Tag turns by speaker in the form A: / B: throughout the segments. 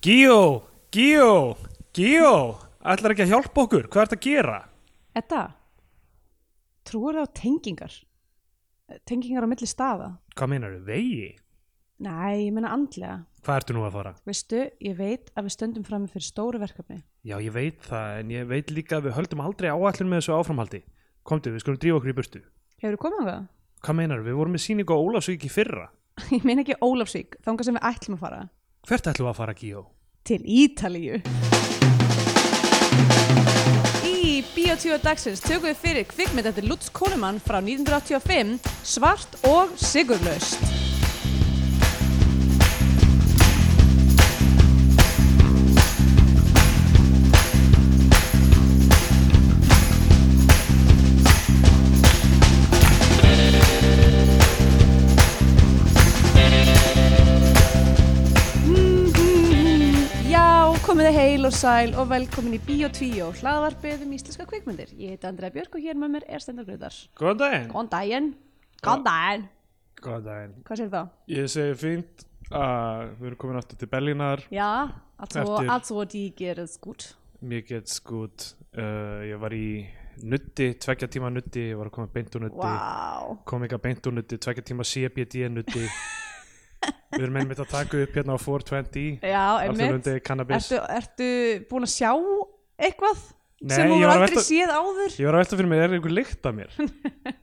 A: Gíó, Gíó, Gíó, ætlar ekki að hjálpa okkur, hvað ert að gera?
B: Edda, trúir það á tengingar? Tengingar á milli staða?
A: Hvað meinar þau, vegi?
B: Nei, ég meina andlega.
A: Hvað ertu nú að fara?
B: Veistu, ég veit að við stöndum fram fyrir stóru verkefni.
A: Já, ég veit það, en ég veit líka að við höldum aldrei áallin með þessu áframhaldi. Komdu, við skulum drífa okkur í burtu.
B: Hefur þú komið á það?
A: Hvað meinar við vorum með síningu á Ólafsvík í fyrra.
B: Ég meina ekki Ólafsvík, þangað sem við ætlum að fara.
A: Hvert ætlum við að fara, Gíó?
B: Til Ítalíu. Í Bíotvíu dagsins tökum við fyrir kvikmynd eftir Lutz Konemann frá 1985, svart og sigurlaust. Já, komið þið heil og sæl og velkomin í Bíotvíu, hlaðvarpið um íslenska kvikmyndir. Ég heiti Andrea Björk og hér með mér er Stendur Gröðar.
A: Góðan daginn.
B: Góðan daginn. Góðan daginn.
C: Góðan daginn.
B: Hvað sér þá?
C: Ég segi fínt að við erum komin aftur til Berlínar,
B: Ja, also,
C: Eftir-
B: also die gerir es gut.
C: mér gets gút, uh, ég var í nutti, tveggja tíma nutti, ég var að koma beint úr nutti,
B: Vá.
C: kom ekki að beint úr nutti, tveggja tíma CBD nutti. við erum einmitt að taka upp hérna á 420,
B: Já, einmitt.
C: alþjóðlundi cannabis.
B: Ertu, ertu búin að sjá eitthvað
C: Nei,
B: sem þú
C: ég
B: hefur
C: var að
B: aldrei
C: velta-
B: séð áður?
C: Ég var að velta fyrir mig, er einhver lykt að mér?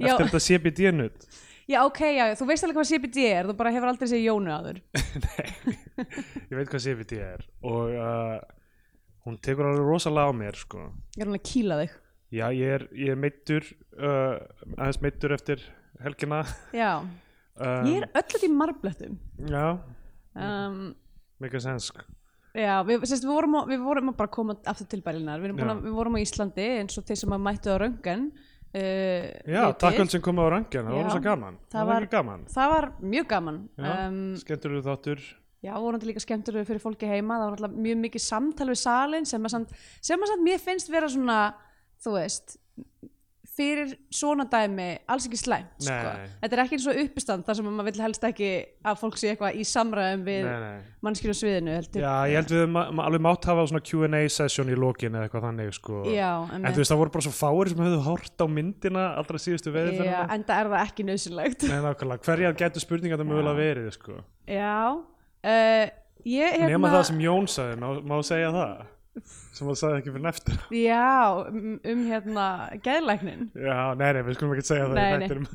B: Já,
C: Eftir þetta CBD nutt?
B: já, ok, já, þú veist alveg hvað CBD er, þú bara hefur aldrei séð Jónu áður.
C: Ég veit hvað CBD er og uh, hún tekur alveg rosalega á mér, sko.
B: Ég er hún að kýla þig.
C: Já, ég er, ég er meittur, uh, aðeins meittur eftir helgina.
B: Já,
C: Um,
B: ég er öllu því marblettum.
C: Já,
B: Um,
C: mikið sens sko.
B: já, við, sérst, við, vorum, á- við vorum að bara koma aftur til bælinar. Við, erum búin
C: Já.
B: að, við vorum á Íslandi eins og þeir sem að mættu á röngan. Uh,
C: Já, takk öll sem komið á rangjan, það
B: Já.
C: var rosa gaman
B: Það
C: Það
B: var-
C: var ekki gaman
B: Það var mjög gaman. Um,
C: um, Skemmtur þáttur
B: Já, voru náttúrulega líka skemmtur fyrir fólki heima, það var náttúrulega mjög mikið samtal við salin sem að samt, sem að samt mér finnst vera svona, þú veist, fyrir svona dæmi alls ekki slæmt, sko.
C: Nei.
B: Þetta er ekki eins og uppistand þar sem að maður vill helst ekki að fólk sé eitthvað í samræðum við
C: Nei, nei.
B: mannskjur og sviðinu, heldur.
C: Já, ég held við ma ma alveg mátt hafa svona Q&A session í lokin eða eitthvað þannig sko.
B: Já,
C: En
B: einmitt.
C: þú veist, það voru bara svo fáir sem höfðu hort á myndina allra síðustu veðið
B: Já, enda er það ekki nöðsynlegt.
C: Nei, nákvæmlega, hverjar getur spurningar það mögulega verið sko.
B: Já, uh, ég hérna...
C: Nema það sem Jón sagði, má, má segja það sem hann sagði ekki fyrir neftur
B: Já, um, um hérna geðlæknin.
C: Já, nei, nei, við skulum ekki segja það
B: Nei,
C: í
B: nei.
C: þættinum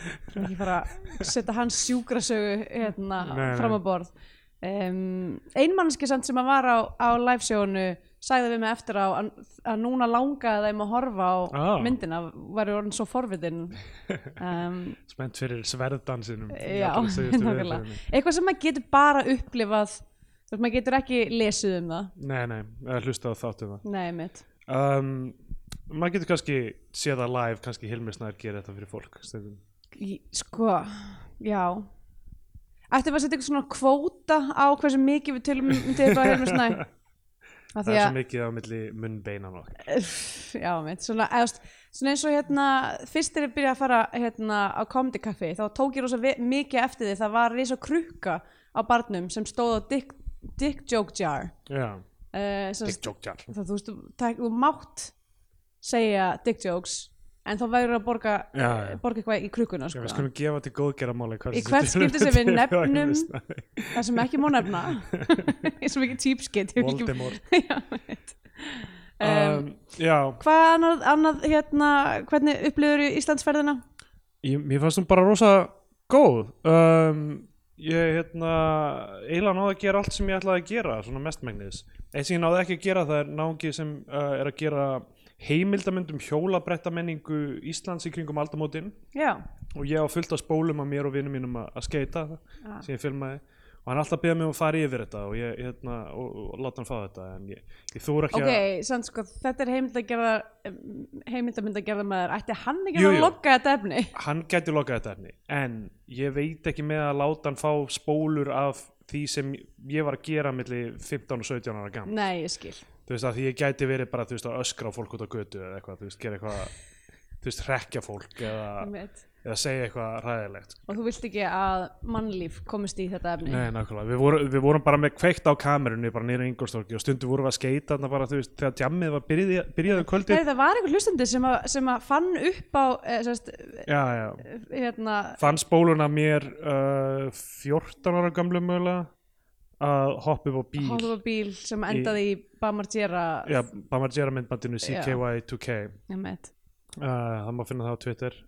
C: án-
B: ekki fara að setja hans sjúkrasögu hérna
C: Nei, nei.
B: fram á borð um, einmannski samt sem að var á, á livesjónu sagði við mig eftir á að, að núna langaði þeim að horfa á
C: Ah.
B: myndina væri orðin svo forvitin um,
C: Spennt fyrir sverðdansinum í
B: já,
C: allra síðustu
B: nákvæmlega
C: veðurförinni.
B: eitthvað sem maður getur bara upplifað þú veist maður getur ekki lesið um það
C: Nei, nei, eða hlusta á þáttum það
B: nei mitt,
C: um, Maður getur kannski séð það live, kannski Hilmi Snær gerir þetta fyrir fólk stundum.
B: Í- sko já ættum við að setja eitthvað svona kvóta á hversu mikið við tölum um til eitthvað hérna snæ
C: Það
B: Af því
C: er
B: að
C: svo mikið á milli munnbeinan okkar
B: Uff, Já, mitt, svona, eðast, svona eins og hérna, fyrst þegar ég byrjaði að fara hérna á Comedy Café, þá tók ég rosa ve- mikið eftir því, það var risa krukka á barnum sem stóð á Dick, dick Joke Jar.
C: Já,
B: Uh,
C: dick joke jar
B: Það, þú veist, þú- það, þú mátt segja Dick Jokes, en þá verður að borga,
C: Já, já.
B: borga eitthvað í krukkuna,
C: Já,
B: sko,
C: við skulum gefa til góðgerðamáli
B: Eh, Í hvert skipti sem við nefnum- það sem ekki má nefna, eins og mikið típskitt.
C: Voldemort
B: Já, mitt. Um,
C: um, Já,
B: hvað annað, annað, hérna, hvernig upplifur Íslandsferðina?
C: ég, mér fannst hún bara rosa góð um, Ég hérna eiginlega náði að gera allt sem ég ætlaði að gera svona mestmægnis Eitt sem ég náði ekki að gera það er náungi sem uh, er að gera heimildamöndum hjólabrettamenningu Íslands í kringum aldamótin
B: Já,
C: og ég á fullt af spólum að mér og vinnum mínum að, að skeita
B: Ah.
C: sem ég filmaði og hann alltaf beða mig um að fara yfir þetta og ég hérna, og, og láta hann fá þetta en ég, ég þúr ekki
B: ok, sann sko, þetta er heimildagerða heimildagerða maður, ætti hann ekki
C: Jú,
B: að
C: jú.
B: lokka þetta efni?
C: að hann gæti lokað þetta efni en ég veit ekki með að láta hann fá spólur af því sem ég var að gera milli 15 og 17 ára gaman
B: Nei, ég skil.
C: þú veist að því ég gæti verið bara þú veist að öskra á fólk út á götu eða eitthvað, þú veist, gera eitthvað þú veist, rekja fólk eða,
B: Einmitt.
C: eða segja eitthvað ræðilegt
B: og þú vilt ekki að mannlíf komist í þetta efni
C: Nei, nákvæmlega, við, voru, við vorum bara með kveikt á kamerunni bara nýra Ingolstorki og stundum vorum við að skeita þarna bara, þú veist, þegar tjammið var byrjaði, byrjaði um kvöldi,
B: Heri, það var einhver hlustandi sem að, sem að fann upp á eh, sest,
C: já, já
B: hérna,
C: fann spóluna mér uh, 14 ára gamlu mögulega að hoppa upp á bíl
B: hóðu á bíl sem endaði í Bamargera
C: Já, Bamargera myndbandinu
B: Já.
C: CKY2K
B: Einmitt.
C: uh, það má finna það á Twitter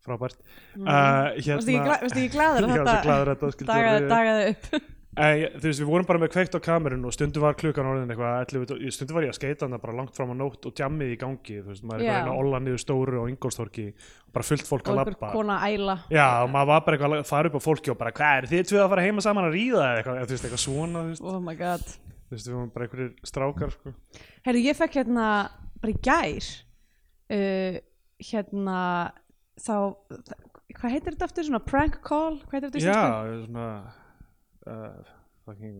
C: frábært uh,
B: Mm. Varstu ekki
C: hérna,
B: gla- varstu ekki glaður að
C: Ég var svo glaður að
B: þetta
C: þetta skyldi
B: dagaði,
C: vera-
B: dagaði upp
C: Æ, Eh, þú veist, við vorum bara með kveikt á kamerun og stundum var klukkan orðin eitthvað 11, stundum var ég að skeita hann bara langt fram á nótt og djammið í gangi, þú veist, maður er
B: Já.
C: eitthvað að reyna að olla niður stóru á Ingolstorki og bara fullt fólk
B: og
C: að
B: einhver
C: labba
B: kona æla
C: Já, og maður var bara eitthvað að fara upp á fólki og bara, hvað er þið tvið að fara heima saman að ríða eða eitthvað, eða þú veist, eitthvað svona, þú veist,
B: oh my god
C: þú veist, við varum bara einhverjir strákar, sko.
B: Herru, ég fekk hérna bara í gær uh, hérna þá hvað heitir þetta aftur svona prank call hvað heitir þetta í
C: Já,
B: íslensku?
C: svona, uh, fucking,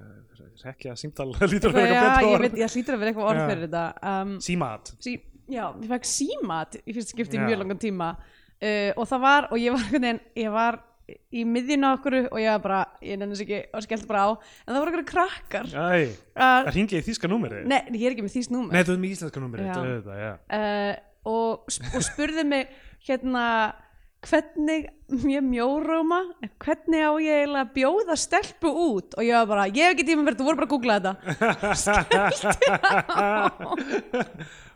C: uh, rekja símtal, lítur að
B: Eitthvað,
C: vera
B: já,
C: betra
B: ég
C: orð.
B: veit, ég hlýtur að vera eitthvað orð
C: Já.
B: fyrir þetta um,
C: Símat.
B: sí, já, ég fekk símat í fyrsta skipti í
C: Já.
B: mjög langan tíma uh, og það var, og ég var einhvern veginn ég var í miðjuna okkur og ég var bara, ég nennis ekki og skellt bara á en það voru einhverju krakkar
C: Æ,
B: uh,
C: það hringi í þýska númerið.
B: nei, ég er ekki með þýst númer
C: Nei, þú veist með íslenska númerið,
B: Já.
C: þetta, já.
B: uh, og, og spurði mig hérna hvernig ég mjóróma hvernig á ég eiginlega að bjóða stelpu út og ég var bara, ég hef ekki tíma fyrir þetta, þú voru bara að googla þetta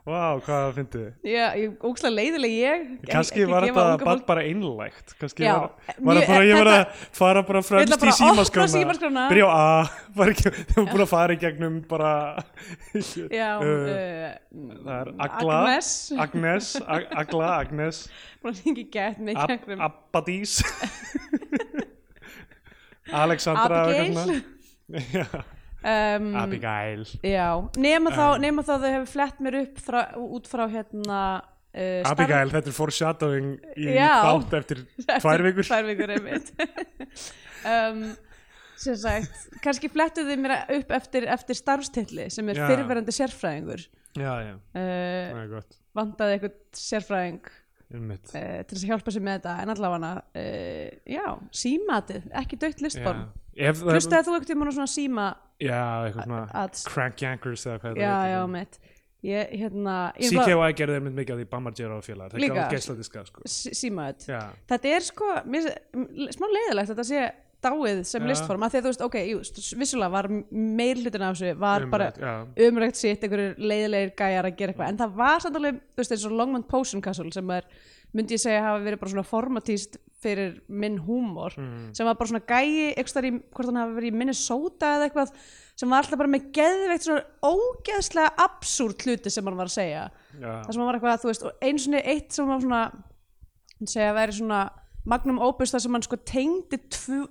C: Vá, hvað fyndið þið?
B: ég, ég ókslega leiðileg ég
C: Kanski var þetta bara, bara einlægt Kanski
B: Já,
C: var, var
B: mjög-
C: það bara, ég var að
B: þetta-
C: fara bara
B: Ég
C: fremst
B: ætla bara
C: í
B: að opna
C: símaskrána
B: símaskrána.
C: Byrja á A var ekki, Þeir voru búin að fara í gegnum bara
B: já,
C: uh,
B: uh,
C: Það er Agla
B: Agnes.
C: Agnes, Ag- Agla, Agnes
B: bara ekki gett mig
C: Ab
B: gegnum
C: Abbadís Alexandra
B: Abigail.
C: Abigail
B: um,
C: Abigail Um.
B: já, nema þá, nema þá þau hefur flett mér upp frá, út frá hérna uh,
C: Abigail, þetta er foreshadowing í
B: Já.
C: þátt eftir tvær vikur
B: tvær vikur einmitt um, sem sagt kannski flettuðu mér upp eftir, eftir starfstilli sem er
C: Já.
B: fyrirverandi sérfræðingur
C: Já, já,
B: uh,
C: það er gott
B: vandaði eitthvað sérfræðing
C: Einmitt.
B: uh, til þess að hjálpa sér með þetta en allavega uh, já, símatið, ekki dögt listform
C: Já. Ef það-
B: hlustaði þú eitthvað tíma svona síma
C: Já, eitthvað svona
B: að,
C: Crank Yankers eða hvað
B: já,
C: það
B: já, mitt ég, hérna, ég
C: CKY gerði einmitt mikið af því Bammar Gera og félagar það
B: Líka.
C: gáði geisladiska sko.
B: símaðið
C: já,
B: þetta er sko mér, finnst- smá leiðilegt að þetta sé dáið sem
C: Já.
B: listform að því að þú veist, ok, jú, st- vissulega var meir hlutin af þessu, var
C: umrætt,
B: bara
C: já.
B: umrækt sitt, einhverjir leiðilegir gæjar að gera eitthvað, en það var samt alveg, þú veist, eins og Longmont Potion Castle sem er, myndi ég segja, hafa verið bara svona formatíst fyrir minn húmor
C: Mhm.
B: sem var bara svona gæi, einhvers þar í, hvort hann hafa verið í Minnesota eða eitthvað sem var alltaf bara með geðveikt svona ógeðslega absúrt hluti sem hann var að segja
C: Já.
B: það sem hann var eitthvað þú veist, og eins og eitt sem var svona hann segja að væri svona magnum opus þar sem hann sko tengdi tvu,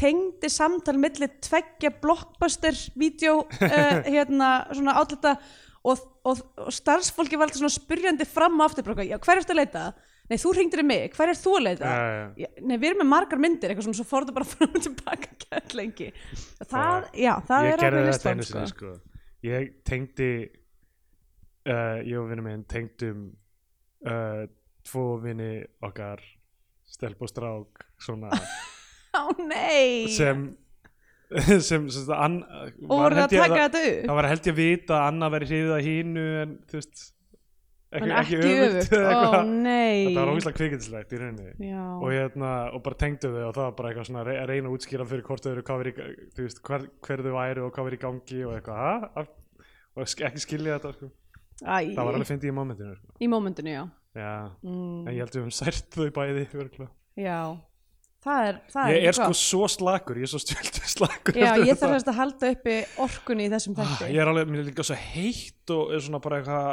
B: tengdi samtal milli tveggja blockbuster vídeo uh, hérna svona átlita og, og, og starfsfólki var alltaf svona spyrjandi fram og aftur bara, eitthvað, já, hver ertu að leita? Nei, þú hringdir í mig, hver er þú að leita?
C: Já, já.
B: Já, Nei, við erum með margar myndir eitthvað svona, svo fór þetta bara fram og tilbaka gett lengi. Það, já, það
C: ég
B: er
C: gerði þetta
B: alveg listform,
C: einu
B: sko.
C: sinni sko. ég tengdi uh, ég og vinnu minn tengdum uh, tvo vini okkar stelp og strák svona
B: Á, nei!
C: sem sem, sem það ann,
B: og
C: var
B: voru
C: held
B: að
C: ég-
B: taka þetta upp?
C: það var held ég að vita að Anna veri hrifið að hínu en þú veist
B: en
C: ekki,
B: ekki
C: öfugt
B: öfugt,
C: eða eitthvað.
B: ó nei
C: þetta var ógislega kvikindislegt í rauninni
B: já,
C: og, hérna, og bara tengdu þau og það var bara eitthvað svona að re- að reyna að útskýra fyrir hvort þau eru hvað veri, þú veist, hver, hver þau væri og hvað veri í gangi og eitthvað ha? Af- og sk- ekki skilja þetta sko.
B: Æ,
C: það var alveg fyndið í momentinu sko.
B: í mómentinu, já
C: já, en
B: mm,
C: ég held við um sært þau bæði örugglega.
B: já, það er það
C: ég
B: ekki
C: er sko
B: gott.
C: svo slakur, ég er svo stjöldu slakur
B: já,
C: eftir
B: ég
C: þetta.
B: þarf semst að halda uppi orkunni í þessum
C: Ah,
B: þætti
C: ég er alveg, mér er líka svo heitt og er svona bara eitthvað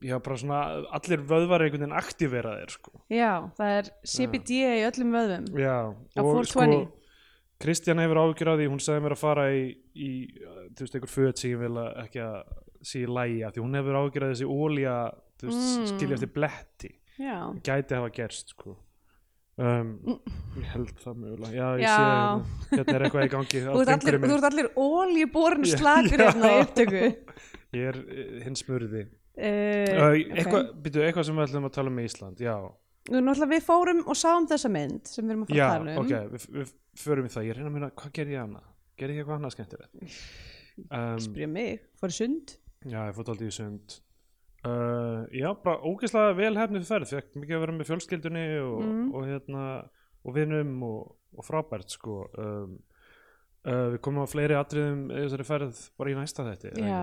C: já, bara svona, allir vöðvar einhvern veginn aktiveraðir sko.
B: já, það er CBD í öllum vöðum
C: Já,
B: Á
C: og
B: 420.
C: sko Kristjana hefur áhyggjur á því, hún sagði mér að fara í, í uh, þú veist, einhver föt sem ég vil að- ekki að sé í lægi af því hún hefur áhyggjur á þessi ólja þú veist,
B: Mm.
C: mm. skilja eftir bletti
B: já,
C: gæti hafa gerst, sko um, ég held það mögulega já, ég
B: Já.
C: sé hérna, hérna er eitthvað í gangi á
B: þú ert allir,
C: fingri
B: þú
C: minn.
B: ert allir óljuborinn
C: Já,
B: slagur
C: já.
B: hérna í upptöku Eh, uh,
C: ég er eh, hinn smurði
B: okay.
C: uh, eitthvað, byrju, eitthvað sem við ætlum að tala um í Ísland, já
B: Nú, náttúrulega við fórum og sáum þessa mynd sem við erum að fara
C: Já,
B: að tala um
C: ok, við, við förum í það Ég reyna að myrna, hvað gerði ég annað? Gerði ég eitthvað annað skemmtilegt? Um,
B: Spyrja mig, fóru sund
C: já, ég fótt aldrei í sund uh, Já, bara ógeðslega velhefnið ferð Fekk mikið að vera með fjölskyldunni og, og, hérna, og vinum og, og frábært sko um, uh, Við komum á fleiri atriðum í þessari ferð bara í næsta þetta
B: Já.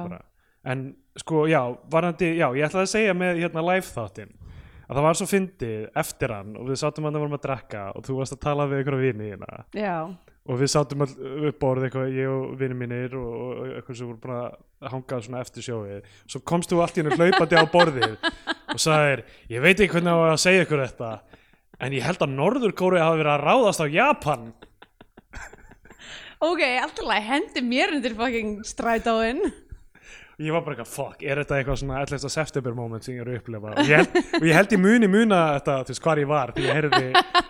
C: En sko, já, varandi, já, ég ætlaði að segja með hérna live þáttinn að það var svo fyndið eftir hann og við sátum að það vorum að drekka og þú varst að tala við einhverja vini hérna
B: Já,
C: og við sátum all upp borð eitthvað, ég og vinni mínir og, og og eitthvað sem voru bara að hanga svona eftir sjóið svo komst þú allt í hennu hlaupandi á borðið og sagðir, ég veit ekki hvernig á að segja ykkur þetta en ég held að Norður Kóru hafi verið að ráðast á Japan
B: ok, alltaf hendi mér undir fucking strætóin
C: ég var bara eitthvað, fuck, er þetta eitthvað svona 11. september moment sem ég er að upplifa og ég held, og ég, held ég muni muna þetta, þú veist, hvar ég var því ég heyrði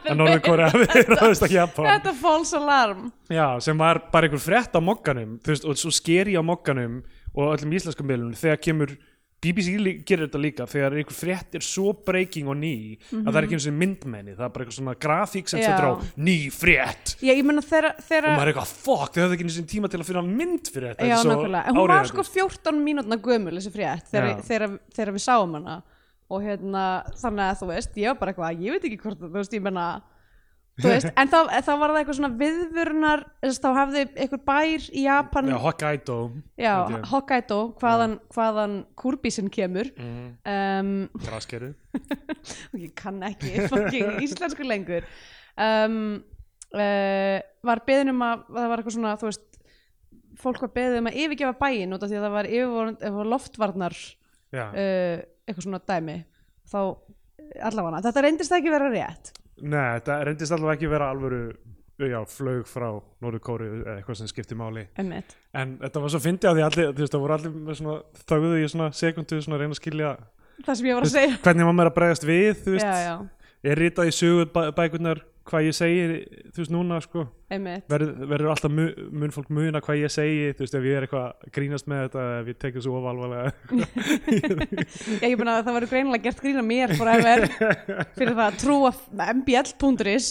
C: að Norður Kóru hafi verið að ráðast á Japan
B: Þetta false alarm
C: Já, sem var bara einhver frétt á mokkanum þú veist, og svo skeri á mokkanum og öllum íslenskum miðlunum þegar kemur BBC lí- gerir þetta líka þegar einhver frétt er svo breaking og ný að það er ekki eins og myndmenni, það er bara eitthvað svona grafík sem
B: Mhm. Já.
C: setur á ný frétt
B: Já, ég meina þeirra,
C: og maður
B: þeirra
C: er eitthvað, fuck, þau höfðu ekki eins og tíma til að finna mynd fyrir þetta
B: Já,
C: þetta er svo
B: nákvæmlega, en hún var
C: áríðandi.
B: sko 14 mínútna gömul þessi frétt þegar,
C: Já.
B: þegar, þegar við sáum hana og hérna, þannig að þú veist ég var bara eitthvað, ég veit ekki hvort þú veist, ég menna þú veist, en þá, þá var það eitthvað svona viðvörunar þess, þá hafði einhver bær í Japan
C: Já, Hawkeye Dome
B: já
C: held ég.
B: Hokkaido, hvaðan, hvaðan kurbísinn kemur um,
C: Graskeru
B: ég kann ekki fucking íslensku lengur um, uh, var beðin um að það var eitthvað svona þú veist fólk var beðið um að yfirgefa bæinn út af því að það var, yfirvofandi- það var loftvarnar
C: Já,
B: uh, eitthvað svona dæmi þá allavega þetta reyndist ekki vera rétt
C: nei, þetta reyndist allavega ekki vera alvöru já, flög frá Norður Kóru eða eitthvað sem skipti máli
B: einmitt.
C: En þetta var svo fyndið að því allir, þú veist, það voru allir með svona, þögðu í svona sekundu, svona að reyna að skilja
B: það sem ég var að segja
C: hvernig maður er að bregðast við, þú veist,
B: já, já,
C: er ritað í sögur bæ bækurnar hvað ég segi, þú veist, núna, sko,
B: einmitt
C: verður, verður alltaf mu mun fólk muna hvað ég segi, þú veist, ef ég er eitthvað að grínast með þetta, ef ég tekið svo ofalvarlega.
B: já, ég meina að það var greinilega gert grína mér forever fyrir það að trúa mbl.is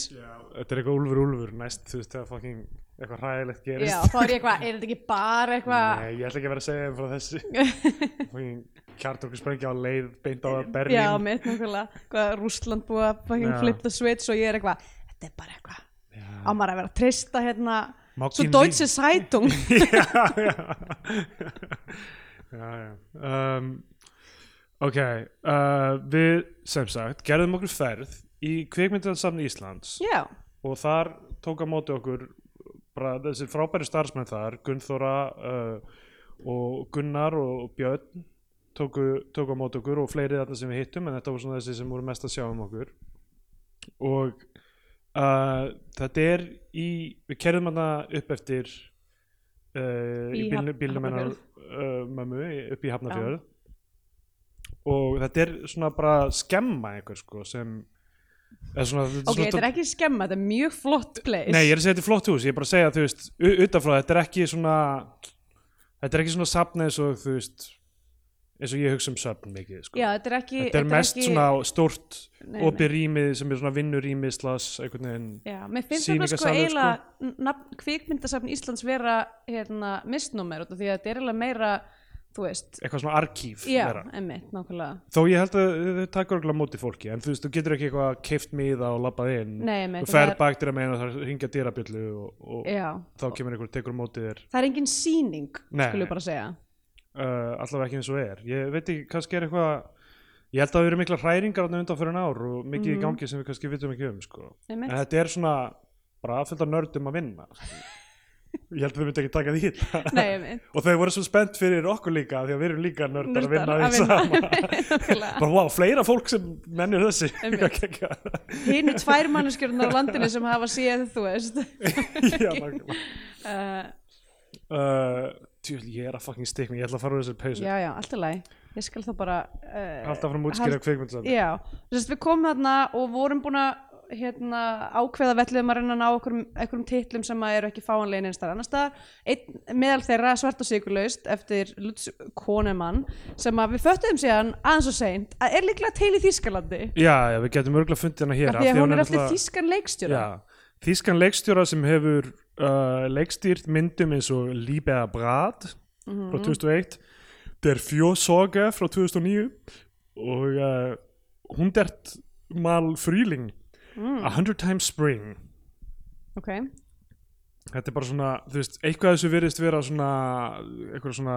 C: þetta er eitthvað úlfur úlfur næst, þú veist, það fucking eitthvað hræðilegt gerist.
B: já, þá er ég eitthvað, er þetta ekki bara eitthvað
C: Nei, ég ætla ekki að vera að segja um frá þessu, fucking kjartorku sprengja á leið beint á Berlín.
B: Já, mitt nákvæmlega, hvað Rússland búið að fucking
C: Já.
B: flip the switch og ég er eitthvað, þetta er bara eitthvað, á maður að vera að treysta hérna,
C: Má
B: svo
C: kynlíf-
B: Deutsche Zeitung,
C: já, já. já, já. Um, ok, uh, við sem sagt gerðum okkur ferð í kvikmyndasamni Íslands
B: já,
C: og þar tók að móti okkur bara þessi frábæri starfsmenn þar Gunnþóra uh, og Gunnar og Björn tóku, tóku á móti okkur og fleiri þarna sem við hittum en þetta voru svona þessi sem voru mest að sjá um okkur og uh, þetta er í við kerðum hana upp eftir uh, í
B: Í
C: bílnum-
B: Hafn-
C: bílnum hennar
B: Hafnarfjörð.
C: uh, mömmu í- upp í Hafnafjörð og þetta er svona bara skemma einhver sko sem eða svona,
B: ok, þetta er ekki skemma, þetta er mjög flott place,
C: Nei, ég er að segja þetta er flott hús, ég er bara að segja þú veist, u- utanfrá, þetta er ekki svona þetta er ekki svona safn eins og þú veist, eins og ég hugsa um safn mikið, sko.
B: já, þetta er ekki,
C: þetta er mest
B: ekki-
C: svona stórt
B: Nei,
C: opið rýmið sem er svona vinnurýmið slas einhvern veginn,
B: Já, mér finnst þarna sko
C: sýningarsalur,
B: eiginlega nafn kvikmyndasafn Íslands vera hérna, misnúmer út af því að þetta er eiginlega meira, þú veist,
C: eitthvað svona arkíf
B: já,
C: meira.
B: emmitt, nákvæmlega,
C: þó ég held að þau takur okkur á móti fólki en þú veist, þú getur ekki eitthvað keift miða og labbað inn,
B: Nei, einmitt,
C: þú
B: og
C: fer
B: það er-
C: bakt þér að meina þar hringja dyrabjöllu og, og
B: já,
C: þá kemur einhver og tekur á móti þér
B: það er engin sýning,
C: Nei.
B: skulum við bara segja.
C: uh, allavega ekki eins og er ég veit ekki, kannski er eitthvað ég held að það eru mikla hræringar á undan fyrir ár og mikið í gangi sem við kannski vitum ekki um sko. en
B: Mm. Einmitt.
C: þetta er svona bara aðfylgda nördum að vinna ég held að þau myndi ekki taka því illa.
B: Nei, einmitt.
C: og þau voru svo spennt fyrir okkur líka því að við erum líka nördar að vinna því sama
B: sama
C: bara wow, fleira fólk sem mennir þessi
B: Einmitt. hinn er tvær manneskjörn á landinu sem hafa séð þú veist
C: já, nákvæmlega.
B: uh,
C: uh, tjöld, ég er að fucking stikna ég ætla að fara úr þessari peysu
B: já já, allt er læg ég skal þá bara uh,
C: alltaf frá mútskýra
B: Hald-
C: kveikmyndsamt
B: já, þess að við komum þarna og vorum búin að hérna, ákveða velluðum að reyna að ná einhverjum, einhverjum titlum sem að eru ekki fáanlegin einnstæðar annars staðar. Einn meðal þeirra er svart og sigurlaust eftir Lutz Konemann sem að við föttuðum síðan aðeins og seint að er líklega til í Þýskalandi
C: já, já, við getum örgulega fundið hana hér
B: af því að hún er eftir
C: náttúrulega-
B: þýskan leikstjóra
C: Já, þýskan leikstjóra sem hefur uh, leikstýrt myndum eins og Líbea Brad frá 2001 Der Fjósoga frá 2009 og uh, Hundert Mal Frýling A Hundred Times Spring
B: ok,
C: þetta er bara svona, þú veist, eitthvað af þessu virðist vera svona, eitthvað svona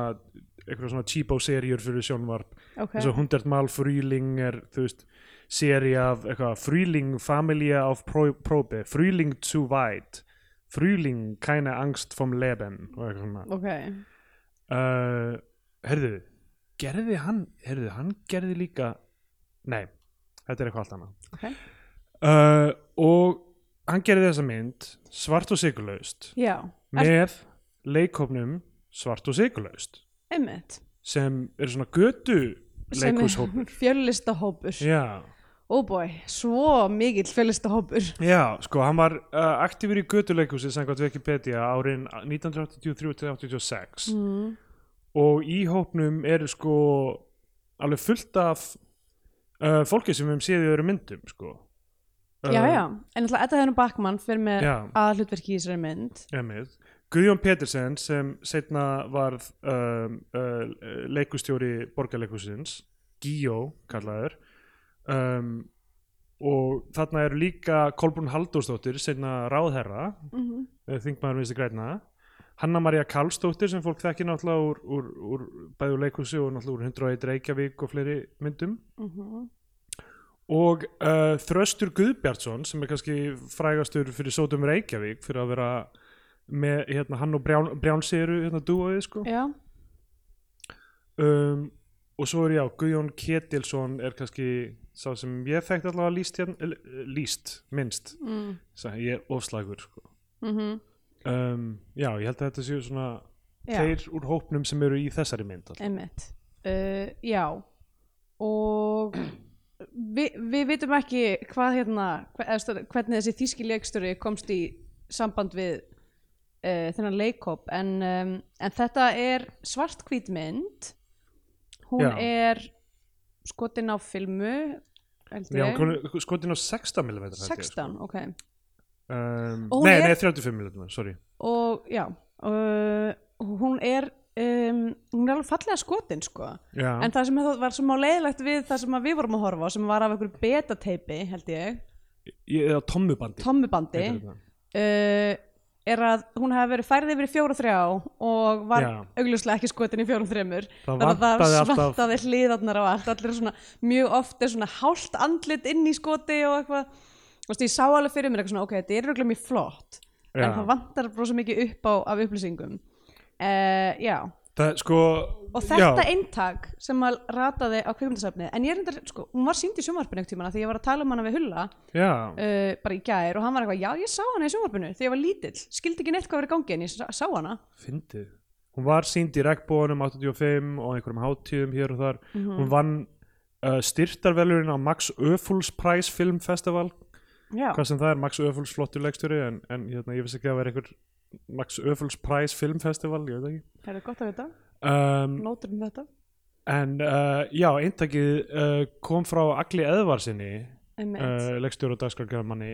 C: eitthvað svona cheapo-seríur fyrir sjónvarp
B: ok
C: eins og hundert mal frýling er þú veist, seri af eitthvað frýling familia of pro probe frýling too wide frýling keine angst vom leben og eitthvað svona
B: ok,
C: uh, herðu, gerði hann herðu, hann gerði líka nei, þetta er eitthvað allt annað
B: ok
C: uh, og hann gerði þessa mynd svart og sigurlaust
B: já, er,
C: með leikhopnum svart og sigurlaust
B: einmitt
C: sem eru svona götu leikhúshópur
B: fjölistahópur
C: Já,
B: oh boy, svo mikill fjölistahópur
C: já, sko, hann var uh, aktífur í götuleikhúsi samkvæmt Wikipedia árin 1983-86
B: mm.
C: og í hópnum eru sko alveg fullt af uh, fólki sem við höfum séð í öðrum myndum sko. Um,
B: já, já, en alltaf Edda Hennur Bakmann fyrir með
C: Uh, Já.
B: að hlutverki í þessari mynd
C: Emið. Guðjón Petersen sem setna varð um, uh, leikustjóri borgarleikusins, Gíó kallaður um, og þarna eru líka Kolbrún Halldórsdóttir, setna ráðherra
B: mm -hmm.
C: eh, þingmaður vinstri græna Hanna María Karlsdóttir sem fólk þekkir náttúrulega úr, úr, úr bæði úr leikhúsi og náttúrulega úr 101 Reykjavík og fleiri myndum
B: mhm.
C: og uh, Þröstur Guðbjartsson sem er kannski frægastur fyrir Sótum Reykjavík fyrir að vera með hérna, hann og Brján, Brjánsiru hérna dúoðið sko
B: já,
C: um, og svo er já, Guðjón Ketilsson er kannski sá sem ég þekkt allavega líst, hérna, eh, líst minnst,
B: mm.
C: Sá, ég er ofslagur sko.
B: Mm
C: um, já, ég held að þetta séu svona
B: já.
C: þeir úr hópnum sem eru í þessari mynd alltaf.
B: Einmitt. Uh, já, og vi, við vitum ekki hvað hérna, hve- eða stóð- hvernig þessi þýski leikstjóri komst í samband við uh, þennan leikkóp, en, um, en þetta er svartkvít mynd, hún
C: Já.
B: er skotin á filmu, held
C: Já, hún
B: ég,
C: konu- skotin á 16 mm
B: 16, ok,
C: um,
B: Og hún
C: nei,
B: er-
C: nei, 35 mm, sorry
B: og já, uh, hún er, um, hún er alveg fallega skotin, sko.
C: já,
B: En það sem það var sem á leiðilegt við það sem að við vorum að horfa á sem var af einhverju betateipi held ég,
C: ég er á tommubandi
B: tommubandi
C: heitir
B: uh,
C: þetta.
B: er að hún hefði verið færið yfir í fjóra þrjá og var
C: Já.
B: augljóslega ekki skotin í fjórum þremur
C: Það
B: Þannig að
C: vantaði
B: það
C: alltaf-
B: svantaði hliðarnar á allt allir svona, mjög oft er svona hálft andlit inn í skoti og eitthvað Þú veist, ég sá alveg fyrir mér eitthvað svona, ok, þetta er augljóslega mjög flott
C: Já.
B: en það vantar brosa mikið upp á af upplýsingum uh, Já,
C: það, sko,
B: og þetta
C: já,
B: eintak sem að rataði á kvikmyndasafnið en ég er reyndar, sko, hún var sínd í sjónvarpinu einhvern tímann af því ég var að tala um hana við Hulla uh,
C: já,
B: bara í gær og hann var eitthvað, já ég sá hana í sjónvarpinu þegar ég var lítill, skildi ekki neitt hvað var í gangi en ég sá, sá hana
C: fyndið hún var sínd í regnbóðunum 85 og einhverjum hátíðum hér og þar
B: Mhm. Mm.
C: hún vann uh, styrtarvelurinn á Max Öfuls Prize Film Festival
B: já,
C: hvað sem það er, Max Öfuls flottur leikstjóri en, en hérna, ég vissi ekki að það var einhver Max Öfuls Prize Film Festival, ég veit ekki
B: það er gott að vita,
C: um,
B: nótur um þetta
C: En uh, já, eintakið uh, kom frá Agli Eðvarsinni,
B: einmitt,
C: uh, leikstjóru og dagskargjöfumanni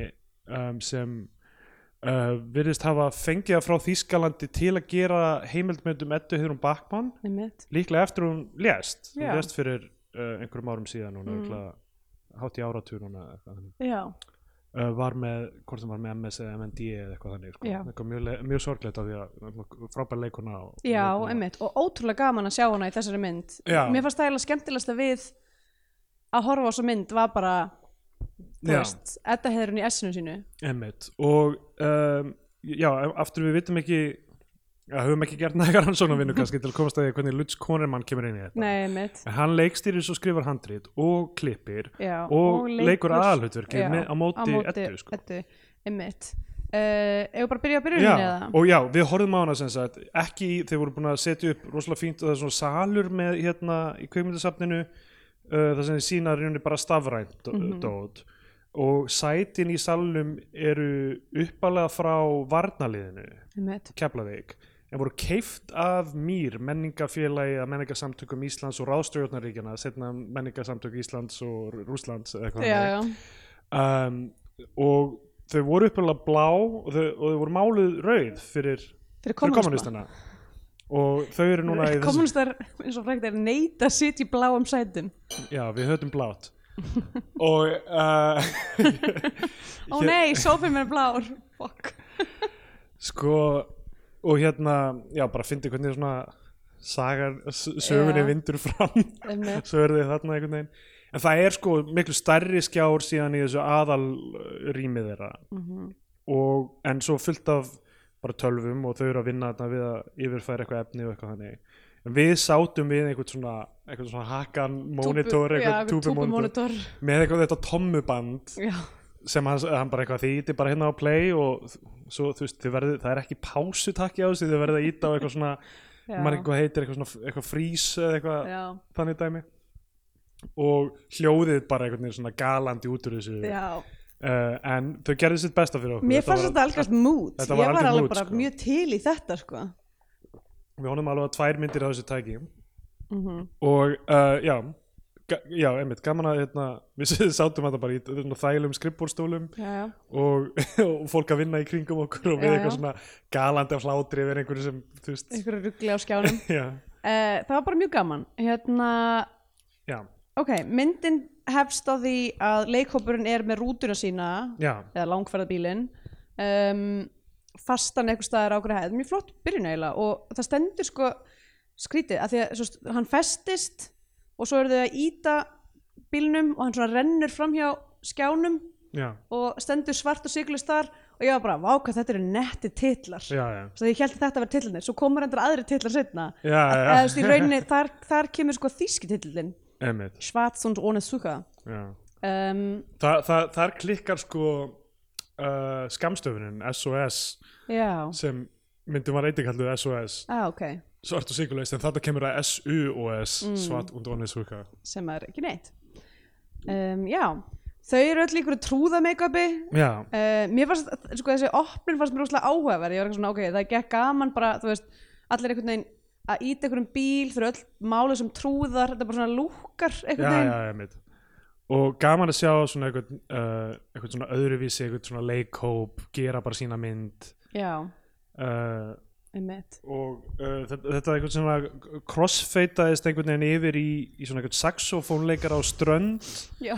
C: um, sem uh, virðist hafa fengið það frá Þýskalandi til að gera heimildmyndum Eddu Heiðrún Bakmann,
B: einmitt
C: líklega eftir hún lést, hún
B: Já.
C: lést fyrir uh, einhverjum árum síðan, hún
B: Mm.
C: mm. er hátt í áratúr núna, eða eitthvað þannig.
B: já,
C: uh, var með, hvort hún var með MS eða MND eða eitthvað þannig, sko.
B: Já.
C: eitthvað mjög, le- mjög sorglegt af því að frábær leikuna og,
B: já,
C: og,
B: einmitt og ótrúlega gaman að sjá hana í þessari mynd
C: Já.
B: mér fannst það eiginlega skemmtilegsta við að horfa á svo mynd var bara þú
C: Já.
B: veist, Edda hefur hún í essinu sínu
C: Einmitt. og um, já, aftur við vitum ekki að höfum ekki gert nægar rannsónavinnu kannski til að komast að því hvernig Lutz Konermann kemur inn í þetta
B: nei, einmitt,
C: en hann leikstýrir svo skrifar handrit og klippir
B: já
C: og, leikur
B: Já,
C: aðalhutverkið með- á móti, eddu sko.
B: eddu einmitt uh, Eða bara byrja að byrja
C: já,
B: henni eða?
C: og já, við horfum á hana sem sagt ekki, í- þeir voru búin að setja upp rosalega fínt og það er svona salur með hérna í kveikmyndasafninu uh, það sem þið sína rauninni bara stafrænt mm
B: Mhm.
C: dót og sætin í salnum eru uppalega frá varnaliðinu
B: einmitt.
C: Keflavík en voru keift af mýr menningafélagi að menningasamtökum Íslands og ráðstjórnaríkjana, setna menningasamtök Íslands og Rúslands eða eitthvað
B: já,
C: þannig.
B: já,
C: um, og þau voru uppalega blá og þau, og þau voru máluð rauð fyrir,
B: fyrir
C: fyrir
B: kommunista
C: kommunistana og þau eru núna í þessum
B: kommunistar, eins og frækt er neita að sitja í bláum sætum
C: já, við höfum blátt og uh,
B: ó nei, sófum er blár Fuck.
C: sko og hérna, já bara fyndi hvernig svona sagar, s- sögunni
B: Já.
C: vindur fram
B: Einmitt.
C: svo er þið þarna einhvern veginn en það er sko miklu stærri skjár síðan í þessu aðalrými þeirra
B: Mhm.
C: og, en svo fullt af bara tölvum og þau eru að vinna þarna við að yfirfæra eitthvað efni og eitthvað þannig en við sátum við einhvern svona, einhvern svona hakan monitor,
B: Túbu- já,
C: einhvern túbumonitor
B: túbumonitor.
C: með eitthvað þetta tommuband
B: já,
C: sem hann, hann bara eitthvað þið íti bara hérna á play og þ- svo þú veist þið verðið, það er ekki pásu takki á þessu þið verðið að íta á eitthvað svona
B: já,
C: mann eitthvað heitir eitthvað svona eitthvað frís eða eitthvað
B: já,
C: þannig dæmi og hljóðið bara einhvern veginn svona galandi út úr þessu uh,
B: já.
C: en þau gerðu sitt besta fyrir okkur
B: mér fannst þetta algjörst mút
C: þetta
B: ég
C: var
B: var
C: algjört
B: alveg
C: mood,
B: bara
C: sko.
B: mjög til í þetta sko.
C: við honum alveg að tvær myndir á þessu tæki
B: mm
C: Mhm. og uh, já ga- já, einmitt, gaman að hérna, við sátum þetta bara í svona þælum skrippbórstólum
B: já, já.
C: og, og fólk að vinna í kringum okkur og við
B: Já, já.
C: eitthvað svona galandi af hlátri yfir einhverju sem, þú veist
B: einhverju ruggli á skjánum
C: já,
B: uh, það var bara mjög gaman hérna,
C: já,
B: Ok, myndin hefst á því að leikhópurinn er með rútuna sína
C: já,
B: eða langferðabílinn um, fastan eitthvað staðar á hverju hæð mjög flott byrjun eiginlega og það stendur sko skrítið að því að svo, st- hann festist og svo eru þau að íta bílnum og hann svona rennur framhjá skjánum
C: já,
B: og stendur svart og siglust þar og ég var bara, vá hvað þetta eru netti titlar
C: já, já.
B: svo ég held að þetta var titlarnir, svo komur endur aðri titlar setna
C: Já, já.
B: eða þú veist í rauninni þar, þar kemur sko þýski titillin
C: Einmitt,
B: Schwarz und ohne Suka
C: já.
B: um,
C: Þa, það, þar klikkar sko uh, skamstöfunin SOS
B: já,
C: sem myndum var eitthvað kalluð SOS
B: ah, ok
C: svart og sigurlaust en þetta kemur að SUOS
B: Mm.
C: svart und onnes huka
B: sem er ekki neitt um, já, þau eru öll ykkur trúða make-upi
C: já,
B: uh, mér fannst, sko þessi opnun fannst mér úslega áhugaverð, ég var eitthvað svona ok það gekk gaman bara, þú veist, allir einhvern veginn að íta einhverjum bíl, þau eru öll máluð sem trúðar, þetta bara svona lúkar
C: já,
B: einhvern veginn,
C: já, einmitt og gaman að sjá svona einhvern, uh, einhvern svona öðruvísi, einhvern svona leikhóp gera bara sína mynd
B: já, já.
C: uh,
B: einmitt
C: og uh, þetta, þetta er einhvern svona crossfeitaðist einhvern veginn yfir í, í svona einhvern saxofónleikar á strönd
B: já,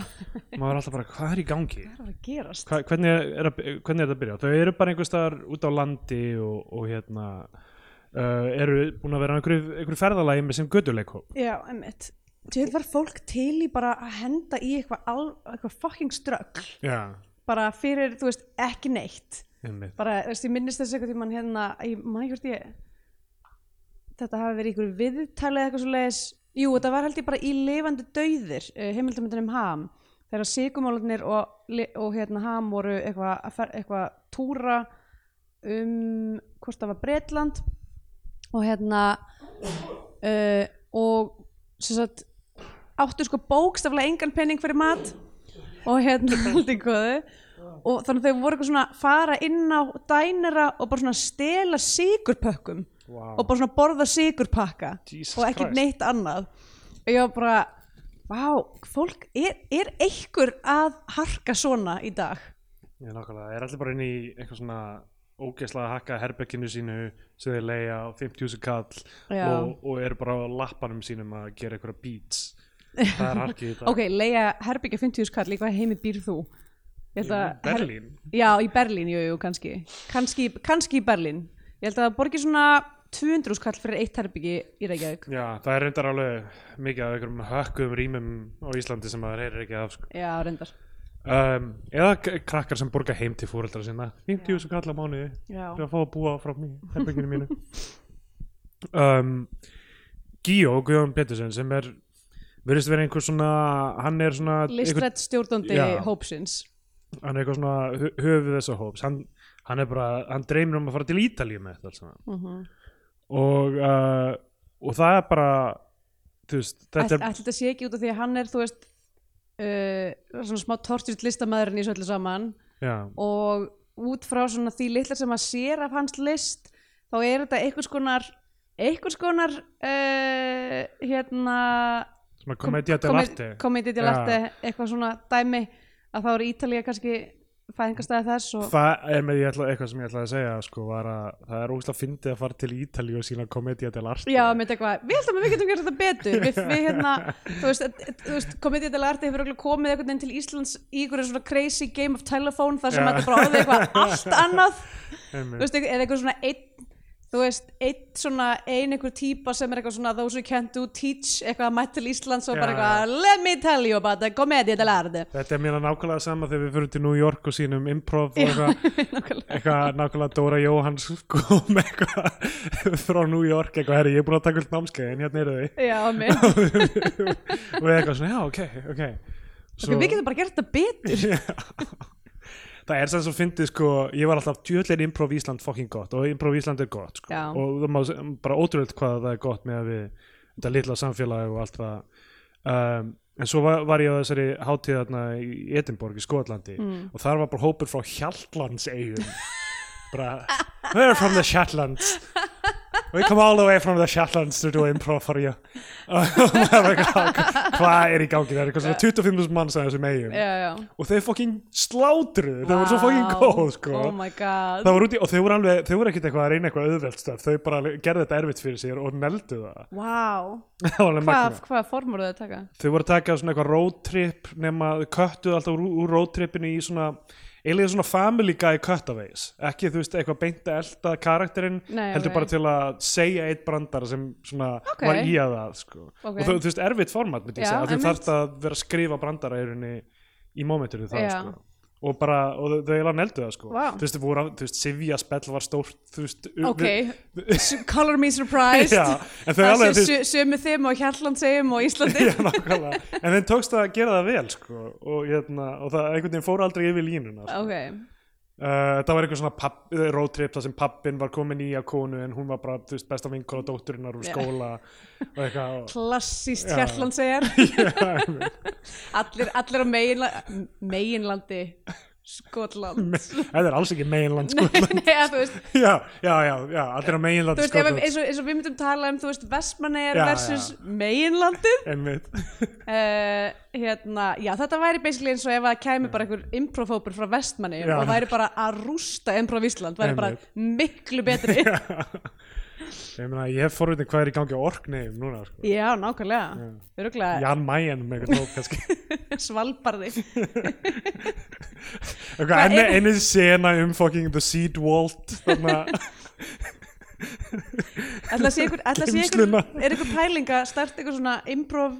C: maður er alltaf bara hvað er í gangi
B: það er að gerast
C: Hva, hvernig, er að, hvernig er þetta að byrja þau eru bara einhvers staðar út á landi og, og hérna uh, eru búin að vera á einhverju, einhverju ferðalagi með sem göttuleikhóp
B: já, einmitt Til var fólk til í bara að henda í eitthvað al- eitthvað fucking strögl
C: já,
B: bara fyrir, þú veist, ekki neitt
C: einmitt
B: bara, þú veist, ég minnist þess eitthvað tímann hérna, ég man ekki hvort ég þetta hafi verið ykkur viðtalið eitthvað svo leiðis, jú, þetta var held ég bara í lifandi dauðir, uh, heimildamöndunum ham, þegar sigumálunir og, li- og hérna ham voru eitthvað að fer- eitthvað túra um, hvort það var Bretland og hérna uh, og sem sagt áttu sko bókstaflega engan penning fyrir mat og hérna held í góðu og þannig að þau voru eitthvað svona að fara inn á dænera og bara svona stela sigurpökkum
C: Vá.
B: og bara svona borða sigurpakka
C: Jesus
B: og ekki
C: Christ.
B: neitt annað og ég var bara Vá, fólk, er, er einhver að harka svona í dag?
C: já, nákvæmlega, er allir bara inn í eitthvað svona ógeðslega hakka herberginu sínu sem þeir leiða á 50.000 kall
B: Já.
C: og, og eru bara á lappanum sínum að gera einhverja beats það er harkið í dag
B: Ok, leiða herbyggja 50 skall, í hvað heimi býr þú? Ég held að-
C: Berlín
B: Já, í Berlín, jú, jú, kannski. kannski. Kannski í Berlín. Ég held að það borgi svona 200 skall fyrir eitt herbyggi í Reykjavík.
C: Já, það er reyndar alveg mikið af einhverjum hökkuðum rýmum á Íslandi sem maður heyrir ekki af sko.
B: Já, reyndar.
C: um, eða k- krakkar sem borga heim til fóreldra sinna 50 sem kalla mánuði
B: Já.
C: fyrir að fá að búa frá mér, herbygginu mínu um, Gíó Guðjón Pettersen sem er verðist vera einhver svona hann er svona einhver,
B: Listrætt stjórnandi
C: Já.
B: hópsins.
C: hann er eitthvað svona hö- höfuð þessa hóps hann, hann er bara, hann dreymir um að fara til Ítalíu með þetta allt saman.
B: Mm -hmm.
C: og uh, og það er bara þú veist, þetta
B: Ætli
C: er
B: þetta sé ekki út af því að hann er, þú veist, uh, svona smá tortjúrt listamæðurinn í svo öllu saman
C: já,
B: og út frá svona því litla sem maður sér af hans list þá er þetta einhvers konar einhvers konar uh, hérna
C: svona komedja til arti
B: komedi til
C: Já.
B: arti, eitthvað svona dæmi að þá eru Ítalía kannski fæðingastæði þess og
C: það er með ég ætla, eitthvað sem ég ætlaði að segja sko, var að það er ógst að fyndi að fara til Ítali og sína komedja til arti
B: Já, mitt eitthvað, við heldum að við getum gert þetta betur við, við hérna, þú veist, að- þú veist komedið til arti hefur örugglega komið einhvern veginn til Íslands í einhverju svona crazy game of telephone þar sem
C: Já.
B: þetta bara orðið eitthvað allt annað þú
C: Einmitt.
B: veist, eða eitthvað svona einn þú veist, einn svona, ein einhver típa sem er eitthvað svona, those who can't do teach eitthvað að mæta til Íslands og
C: Já.
B: bara eitthvað let me tell you about the komedið til arti
C: þetta er mér nákvæmlega sama þegar við fyrir til New York og sínum improv og eitthvað
B: nákvæmlega
C: eitthvað nákvæmlega Dóra Jóhanns kom eitthvað frá New York eitthvað, herri, ég er búin að taka upp námskeið en hérna eru þið
B: Já, mitt,
C: og við eitthvað svona, já, ok, ok
B: Svo... við getum bara gert þetta betur
C: það er sem svo fyndið, sko, ég var alltaf djöðlega improv Ísland fucking gott og improv Ísland er gott, sko,
B: Já.
C: og það má se- bara ótrúlega hvað það er gott með að við þetta litla samfélag og allt það um, en svo var, var ég á þessari hátíð þarna í Edinborg í Skotlandi og þar var bara hópur frá Hjallandseyjum bara we're from the Shetlands we come all the way from the Shetlands to do improv for you og maður var eitthvað, hvað er í gangi það er eitthvað svona 25.000 manns að þessum eigum
B: Já, já
C: og þeir fokkin slátruðu þau voru svo fokkin
B: Vá,
C: góð sko
B: Oh my god
C: Það var út í, og þau voru alveg, þau voru ekkert eitthvað að reyna eitthvað auðvelt stöf, þau bara alveg gerðu þetta erfitt fyrir sér og neldu það.
B: Wow,
C: Það var alveg
B: hvað,
C: magna.
B: hvað form voru það að taka?
C: Þau voru að taka svona eitthvað roadtrip nema þau köttuðu alltaf úr, úr roadtripinu í svona, eiginlega svona family guy cutaways, ekki þú veist eitthvað beint að elda karakterinn,
B: Nei,
C: heldur
B: ok.
C: bara til að segja eitt brandara sem svona
B: Ok.
C: var í að það sko.
B: Ok.
C: Og þau, þú veist erfitt format myndi ég
B: Já,
C: segja, að þú
B: einmitt.
C: þarft að vera að skrifa brandara í rauninni í momentinu það
B: Já.
C: sko. Og bara, og þau- þau eiginlega neldu það sko.
B: Vá.
C: Þú veist, þau voru, að- þú veist, Sivja spell var stórt, þú veist,
B: Ok,
C: við-
B: S- color me surprised
C: Já, en þau
B: Það
C: alveg, þú
B: sé sö- sömu þeim og Hjallandsheim og Íslandi
C: Já, nákvæmlega. En þeim tókst að gera það vel, sko, og, hérna, og það einhvern veginn fór aldrei yfir línuna. Sko.
B: Ok,
C: Uh, það var eitthvað svona papp, roadtrip þar sem pappin var komin í að konu en hún var bara, þú veist, besta vinkona dótturinnar úr
B: Já.
C: skóla og eitthvað. og-
B: klassíst
C: Já.
B: Hjallandsheim
C: Já, einmitt.
B: allir, allir á meginla meginlandi Skotland
C: Þetta er alls ekki meginland, sko.
B: Nei, að þú veist,
C: Já, já, já, já, allir á meginland,
B: þú veist ef,
C: sko.
B: eins, og, eins og við myndum tala um, þú veist, Vestmanneir
C: Já,
B: versus meginlandið
C: Einmitt.
B: uh, hérna, já þetta væri basically eins og ef það kæmi bara einhver improfópur frá vestmanni
C: Já.
B: og væri bara að rústa improv Ísland, væri bara
C: Einmitt.
B: miklu betri
C: Ég meina, ég hef forvitin hvað er í gangi á orkneim núna, sko.
B: já, nákvæmlega, öruglega
C: Jan Mayen með eitthvað hóp, kannski.
B: svalbarði
C: Eitthvað,
B: Hvað
C: enni,
B: er-
C: enni sena um fucking the seed vault, þarna,
B: ætla að sé ykkur, ætla að sé ykkur
C: Geymsluna.
B: er ykkur pæling að starta ykkur svona improv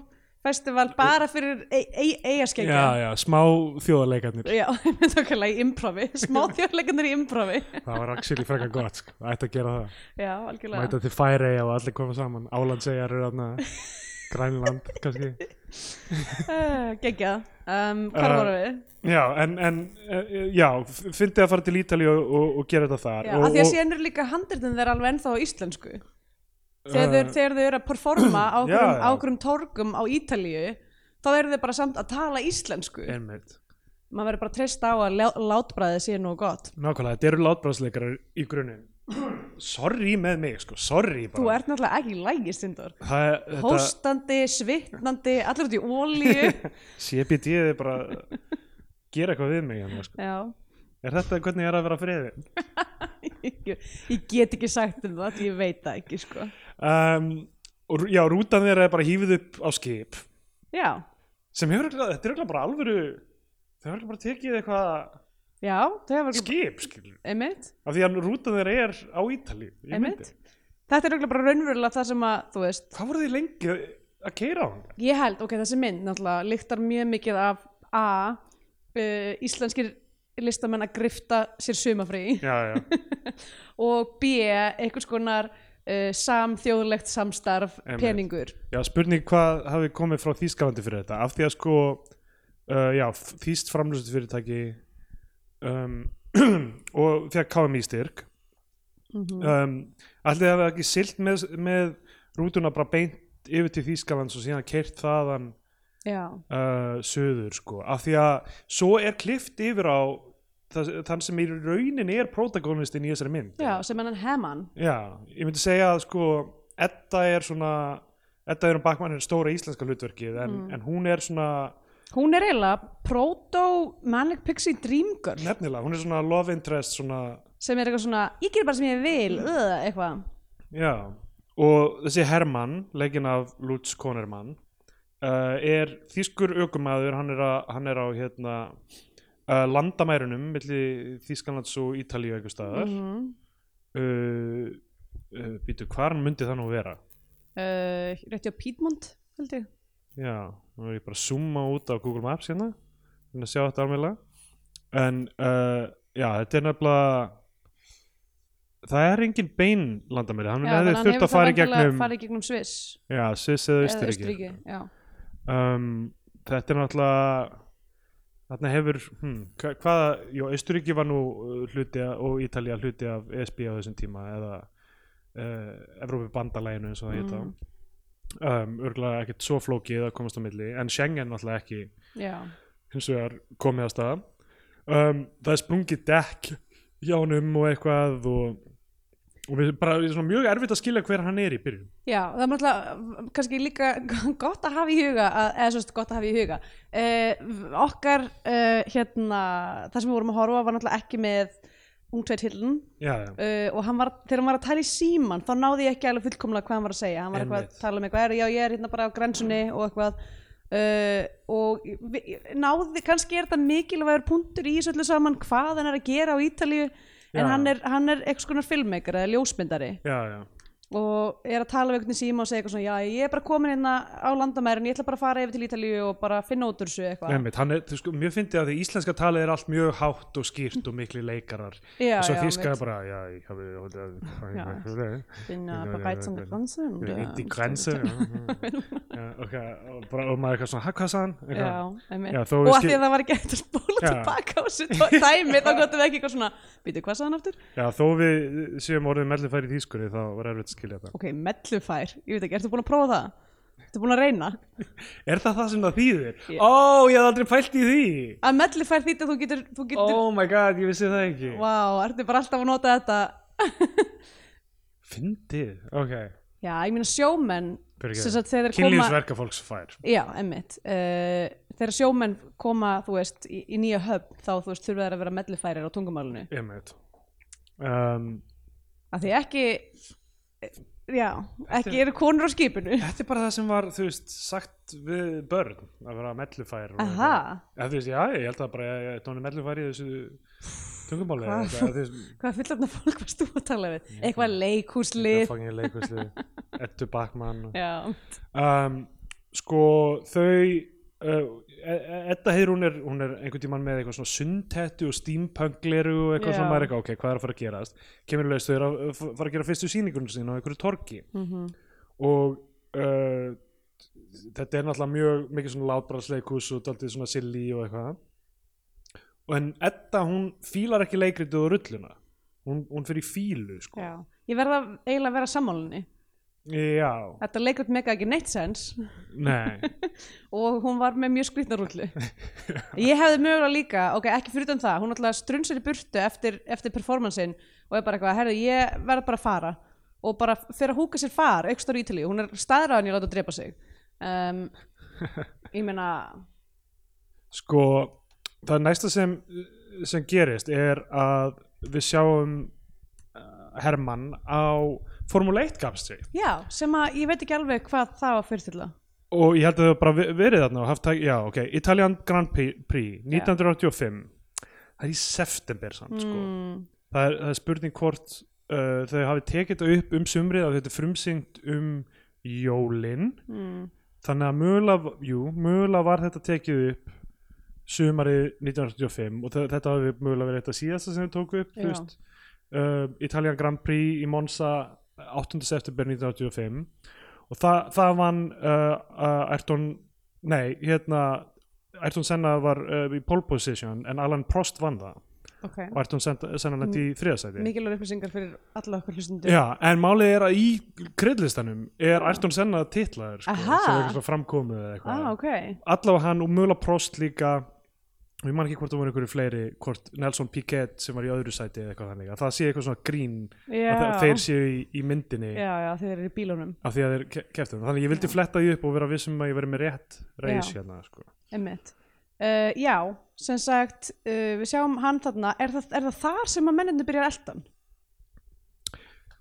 B: festival bara fyrir eigaskeggja
C: já, já, smá þjóðarleikarnir.
B: já, nákvæmlega í improvi smá þjóðleikandir í improvi
C: Það var actually frekar gott, sko. Það ætti að gera það.
B: já, algjörlega
C: Mæta til Færeyja og allir koma saman. Álandseyjar eru þarna, Grænland, kannski.
B: uh, geggjað, um, hvað
C: Eh,
B: vorum við?
C: Já, en, en eh, já, fyndið að fara til Ítali og, og, og gera þetta þar.
B: Já,
C: og,
B: af því að
C: og-
B: síðan eru líka handritin þeirra alveg ennþá á íslensku þegar, þeir, þegar þau eru að performa á
C: Eh. Já, já.
B: okkurum, á okkurum torgum á Ítalíu þá eru þau bara samt að tala íslensku
C: Einmitt.
B: maður verður bara að treysta á að lá- látbragðið sé nú gott
C: Nákvæmlega, þetta eru látbráðsleikarar í grunin. Sorry með mig, sko. Sorry bara.
B: þú ert náttúrulega ekki í lægi stundur
C: Það, þetta,
B: hóstandi, svitnandi, allir út í ólíu
C: CBD er bara gera eitthvað við mig. Hérna, sko.
B: já
C: Er þetta hvernig ég er að vera friðið?
B: ég, ég get ekki sagt um það ég veit það ekki sko
C: Um, og rú- já, rútan þeirra er bara hífið upp á skip
B: já,
C: sem hefur, örugglega- þetta er örugglega bara alvöru þau hefur örugglega bara tekið eitthvað
B: já, þau hefur
C: skip skilur,
B: einmitt
C: af því að rútan þeirra er á Ítali í myndinni.
B: Einmitt. Þetta er auðvitað bara raunverulega það sem að, þú veist,
C: hvað voru þið lengi að keira á hann
B: Ég held, ok, þessi mynd náttúrulega lyktar mjög mikið af A, uh, íslenskir listamenn að grifta sér sumafrí
C: já, já,
B: og B, einhvers konar uh, samþjóðlegt samstarf
C: Einmitt.
B: peningur.
C: já spurning hvað hafi komið frá Þýskalandi fyrir þetta af því að sko uh, já, Þýst framlýstu fyrirtæki um, og fekk KMI styrk um, allir hafi ekki silt með, með rútuna bara beint yfir til Þýskaland og síðan keirt þaðan
B: já,
C: uh, söður sko af því að svo er klift yfir á það, þann sem í raunin er protagonistinn í þessari mynd
B: já, sem hennan Heman
C: Já, ég myndi segja að sko Edda er svona Edda er um bakmann er stóra íslenska hlutverkið en, en hún er svona
B: hún er eiginlega proto-manic pixie dream girl
C: nefnilega, hún er svona love interest svona,
B: sem er eitthvað svona, ég ger bara sem ég
C: Mm.
B: vil öð, eitthvað,
C: já og þessi Hermann, leikinn af Lutz Konermann uh, er þýskur ökumæður hann er, að, hann er á hérna uh, landamærunum milli Þýskanlands og Ítalíu einhver
B: Mhm.
C: staðar mm -hmm. uh, uh, býtu, hvar myndi það nú vera?
B: uh, rétti á Piedmont held ég,
C: Já, nú er ég bara að zooma út á Google Maps hérna en að sjá þetta alveglega en uh, já, þetta er nefnilega það er engin bein landamæri, hann
B: Já,
C: hefði
B: þannig
C: þurft
B: hefur
C: að
B: þá
C: fara í
B: væntanlega
C: gegnum
B: farið í gegnum Sviss
C: já, Sviss eða
B: eða
C: Austuríki
B: Östuríki, já
C: um, þetta er náttúrulega þarna hefur hm, hva- hvaða, jú, Austuríki var nú uh, hluti af, og Ítalía hluti af ESB á þessum tíma eða uh, Evrópi bandalæginu eins og það heita
B: Mm.
C: um, örgulega ekkert svo flókið að komast á milli en Schengen náttúrulega ekki
B: Já,
C: hins vegar komið að staða um, það er sprungið dekk hjá honum og eitthvað og, og við bara við erum svona mjög erfitt að skilja hver hann er í byrjun
B: já, það er náttúrulega uh, kannski líka gott að hafa í huga að, eða svo veist, gott að hafa í huga uh, okkar uh, hérna, það sem við vorum að horfa á var náttúrulega ekki með ungtveit hillun
C: já, já,
B: uh, og hann var, þegar hann var að tala í síman þá náði ég ekki alveg fullkomlega hvað hann var að segja hann var eitthvað
C: Einmitt.
B: að tala um eitthvað, "Herra, já ég er hérna bara á grensunni og eitthvað uh, og vi- náði, kannski er þetta mikilvægur punktur í þessu öllu saman hvað hann er að gera á Ítalíu en
C: Já.
B: hann er, hann er eitthvað skonar filmmaker eða ljósmyndari
C: já, já.
B: og er að tala við einhvern í síma og segja eitthvað svona já ég er bara komin hérna á landamærin ég ætla bara að fara yfir til Ítalíu og bara finna út úr þessu eitthvað
C: Einmitt, hann er, þú sko, mjög fyndið að því íslenska talið er allt mjög hátt og skýrt og mikli leikarar
B: Já,
C: og svo
B: já,
C: þýska er
B: einmitt.
C: bara já, ég hafi
B: finna bereits an der Grenze und, äh,
C: í grense já, já, ok, og, bara, og maður eitthvað svona, "Ha, hvað sagði hann?
B: já,
C: Eitthvað.
B: einmitt.
C: Já, þó
B: og
C: við
B: að því
C: skil-
B: að það var ekki hægt að spóla
C: Já.
B: tilbaka á þessu tó- dæmi þá gotum við ekki eitthvað svona býtu hvað sagði hann aftur?
C: já, þó við séum orðið mellifæri í þýskunni þá var erfitt að skilja þetta
B: ok, mellufær, ég veit ekki, ertu búin að prófa það? ertu búin að reyna?
C: Er það það sem það þýðir? Ó,
B: Ég-
C: ég hef aldrei pælt í því
B: að mellufær þýtt að þú getur, þú getur
C: Oh my god, ég vissi það ekki
B: wow, ertu bara alltaf að nota þetta
C: Fyndið, ok
B: já, ég meina sjómenn sem sagt, þegar þeir koma
C: Kynlífsverka fólks fær
B: Já, emmitt. Uh, þegar sjómenn koma, þú veist, í, í nýja höfn þá, þú veist, þurfa þær að vera mellifærir á tungumálinu.
C: Einmitt um,
B: Af því ekki, eh, já, ekki eru konur á skipinu.
C: Þetta er bara það sem var, þú veist, sagt við börn að vera mellufær og-
B: Aha,
C: Eða, Þú veist, já, ég held að bara ég, ég, tónu mellufær í þessu tungumáli
B: Hvað?
C: eða Þú veist,
B: hvað fullorðna fólk varst þú að tala við? Eitthvað
C: það
B: leikhúslið.
C: fangin leikustu Eddu Bakman og
B: Já,
C: um, sko þau uh, Edda heiður hún er, hún er einhvern tímann með eitthvað svona sundhettu og steampunkleru og eitthvað
B: Já.
C: svona maður er eitthvað, ok, hvað er að fara að gerast kemur í laus, þau eru að að fara að gera fyrstu sýningunum sín á einhverju torki
B: Mhm.
C: og uh, þetta er náttúrulega mjög mikið svona látbrasleikus og daldið svona silly og eitthvað og en Edda hún fílar ekki leikritið og rulluna hún, hún fyrir fílu sko
B: já. Ég verða eiginlega að vera sammálinni.
C: já
B: Þetta leikrit mega ekki neitt sens
C: nei
B: og hún var með mjög skrýtna rullu. Ég hefði mögulega líka, ok, ekki fyrir utan það, hún alltaf strunnsar í burtu eftir, eftir performancein og er bara eitthvað, herru, ég verð bara að fara og bara fer að húka sér far, aukstar í Ítalíu, hún er staðræðan í að láta að drepa sig. Um, ég meina,
C: sko það næsta sem, sem gerist er að við sjáum uh, Hermann á Formule 1 kapstri
B: já, sem að ég veit ekki alveg hvað það var fyrir til það.
C: og ég held að það hafi bara ve- verið þarna og haft tæk, já ok, Italian Grand Prix Prix, 1985 það er í september samt sko það er, það er spurning hvort uh, þau hafi tekið þetta upp um sumrið að þetta er frumsýnd um jólin
B: Mm.
C: þannig að mögulega, jú, mögulega var þetta tekið upp sumari 1985 og þe- þetta hafi mögulega verið þetta síðasta sem þau tóku upp þú
B: Já.
C: veist, uh, Italian Grand Prix í Monza 8. september 1985 og það, það vann uh, uh, Ayrton, nei, hérna Ayrton Senna var uh, í pole position en Alan Prost vann það
B: ok,
C: og ert hún sennanlegt
B: Mm.
C: í þriðasæti
B: mikilvægur upplýsingar fyrir alla okkur hlustundur
C: Já, en málið er að í kryddlistanum er Ayrton Senna titlaður sko,
B: Aha.
C: sem er eitthvað framkomið eða eitthvað
B: ah, ok,
C: allavega hann og mögulega Prost líka við man ekki hvort það voru einhverju fleiri hvort Nelson Piquet sem var í öðru sæti eða eitthvað þannig að það sé eitthvað svona grín
B: já
C: að þe- þeir séu í, í myndinni
B: já, já, þeir eru í bílunum,
C: af því að þeir ke- keftu þannig að ég vildi fletta því upp og vera vissum að ég veri með rétt reis
B: Já.
C: hérna sko.
B: emmitt uh, já, sem sagt uh, við sjáum hann þarna, er það, er það þar sem að menninu byrjar eldan?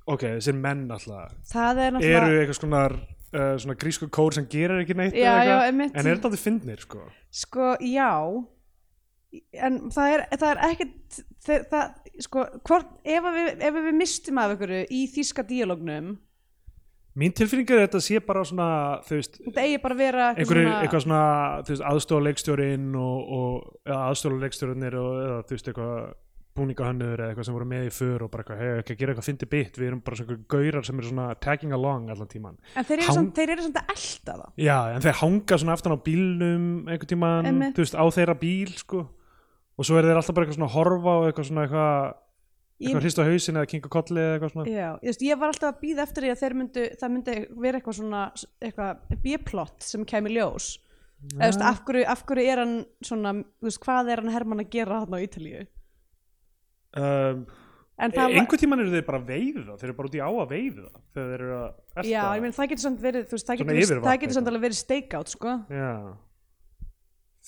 C: ok, þessir menn alltaf
B: það er náttúrulega
C: eru eitthvað svona, uh, svona grísku kór sem gerir ekki neitt
B: Já,
C: eða eitthvað,
B: já, einmitt.
C: en er þetta aldrei fyndnir sko.
B: Sko, já en það er, það er ekkert það, það, sko, hvort ef að við, ef að við mistum af ykkur í þýska díalógnum,
C: mín tilfinning er að þetta sé bara svona þú veist,
B: þetta eigi bara að vera
C: einhverju, eitthvað svona þú veist, aðstofuleikstjórinn og, og aðstofuleikstjórinnir og eða, þú veist, eitthvað búningahönnur eða eitthvað sem voru með í för og bara eitthvað, hefur ekki að gera eitthvað fyndi bytt, við erum bara svona einhverjir gaurar sem eru svona tagging along allan tíman.
B: en þeir eru,
C: Hang-
B: samt, þeir eru samt að elda það
C: Já, en þeir hanga svona aftan á bílnum einhvern tíman,
B: Einmitt.
C: þú veist, á þeirra bíl sko, og svo eru þeir alltaf bara eitthvað svona að horfa á eitthvað svona eitthvað, eitthvað
B: ég,
C: hrist á hausin eða kinga kolli eða eitthvað svona.
B: já, ég, veist, ég var alltaf að býða eftir því að þeir myndu, það myndi vera eitthvað svona eitthvað b-plot sem kemur ljós eða þú veist, af hverju, af hverju er hann svona, þú veist, hvað er hann Hermann að gera hann á Ítalíu
C: Um,
B: en það var-
C: einhvern tíman eru þeir bara að veiða, þeir eru bara út í á að veiða þegar þeir eru að elta.
B: Já, ég meina það getur samt verið, þú veist, það
C: Svona
B: getur,
C: yfirvarp
B: það getur samt
C: eitthvað.
B: alveg verið stakeout, sko.
C: Já,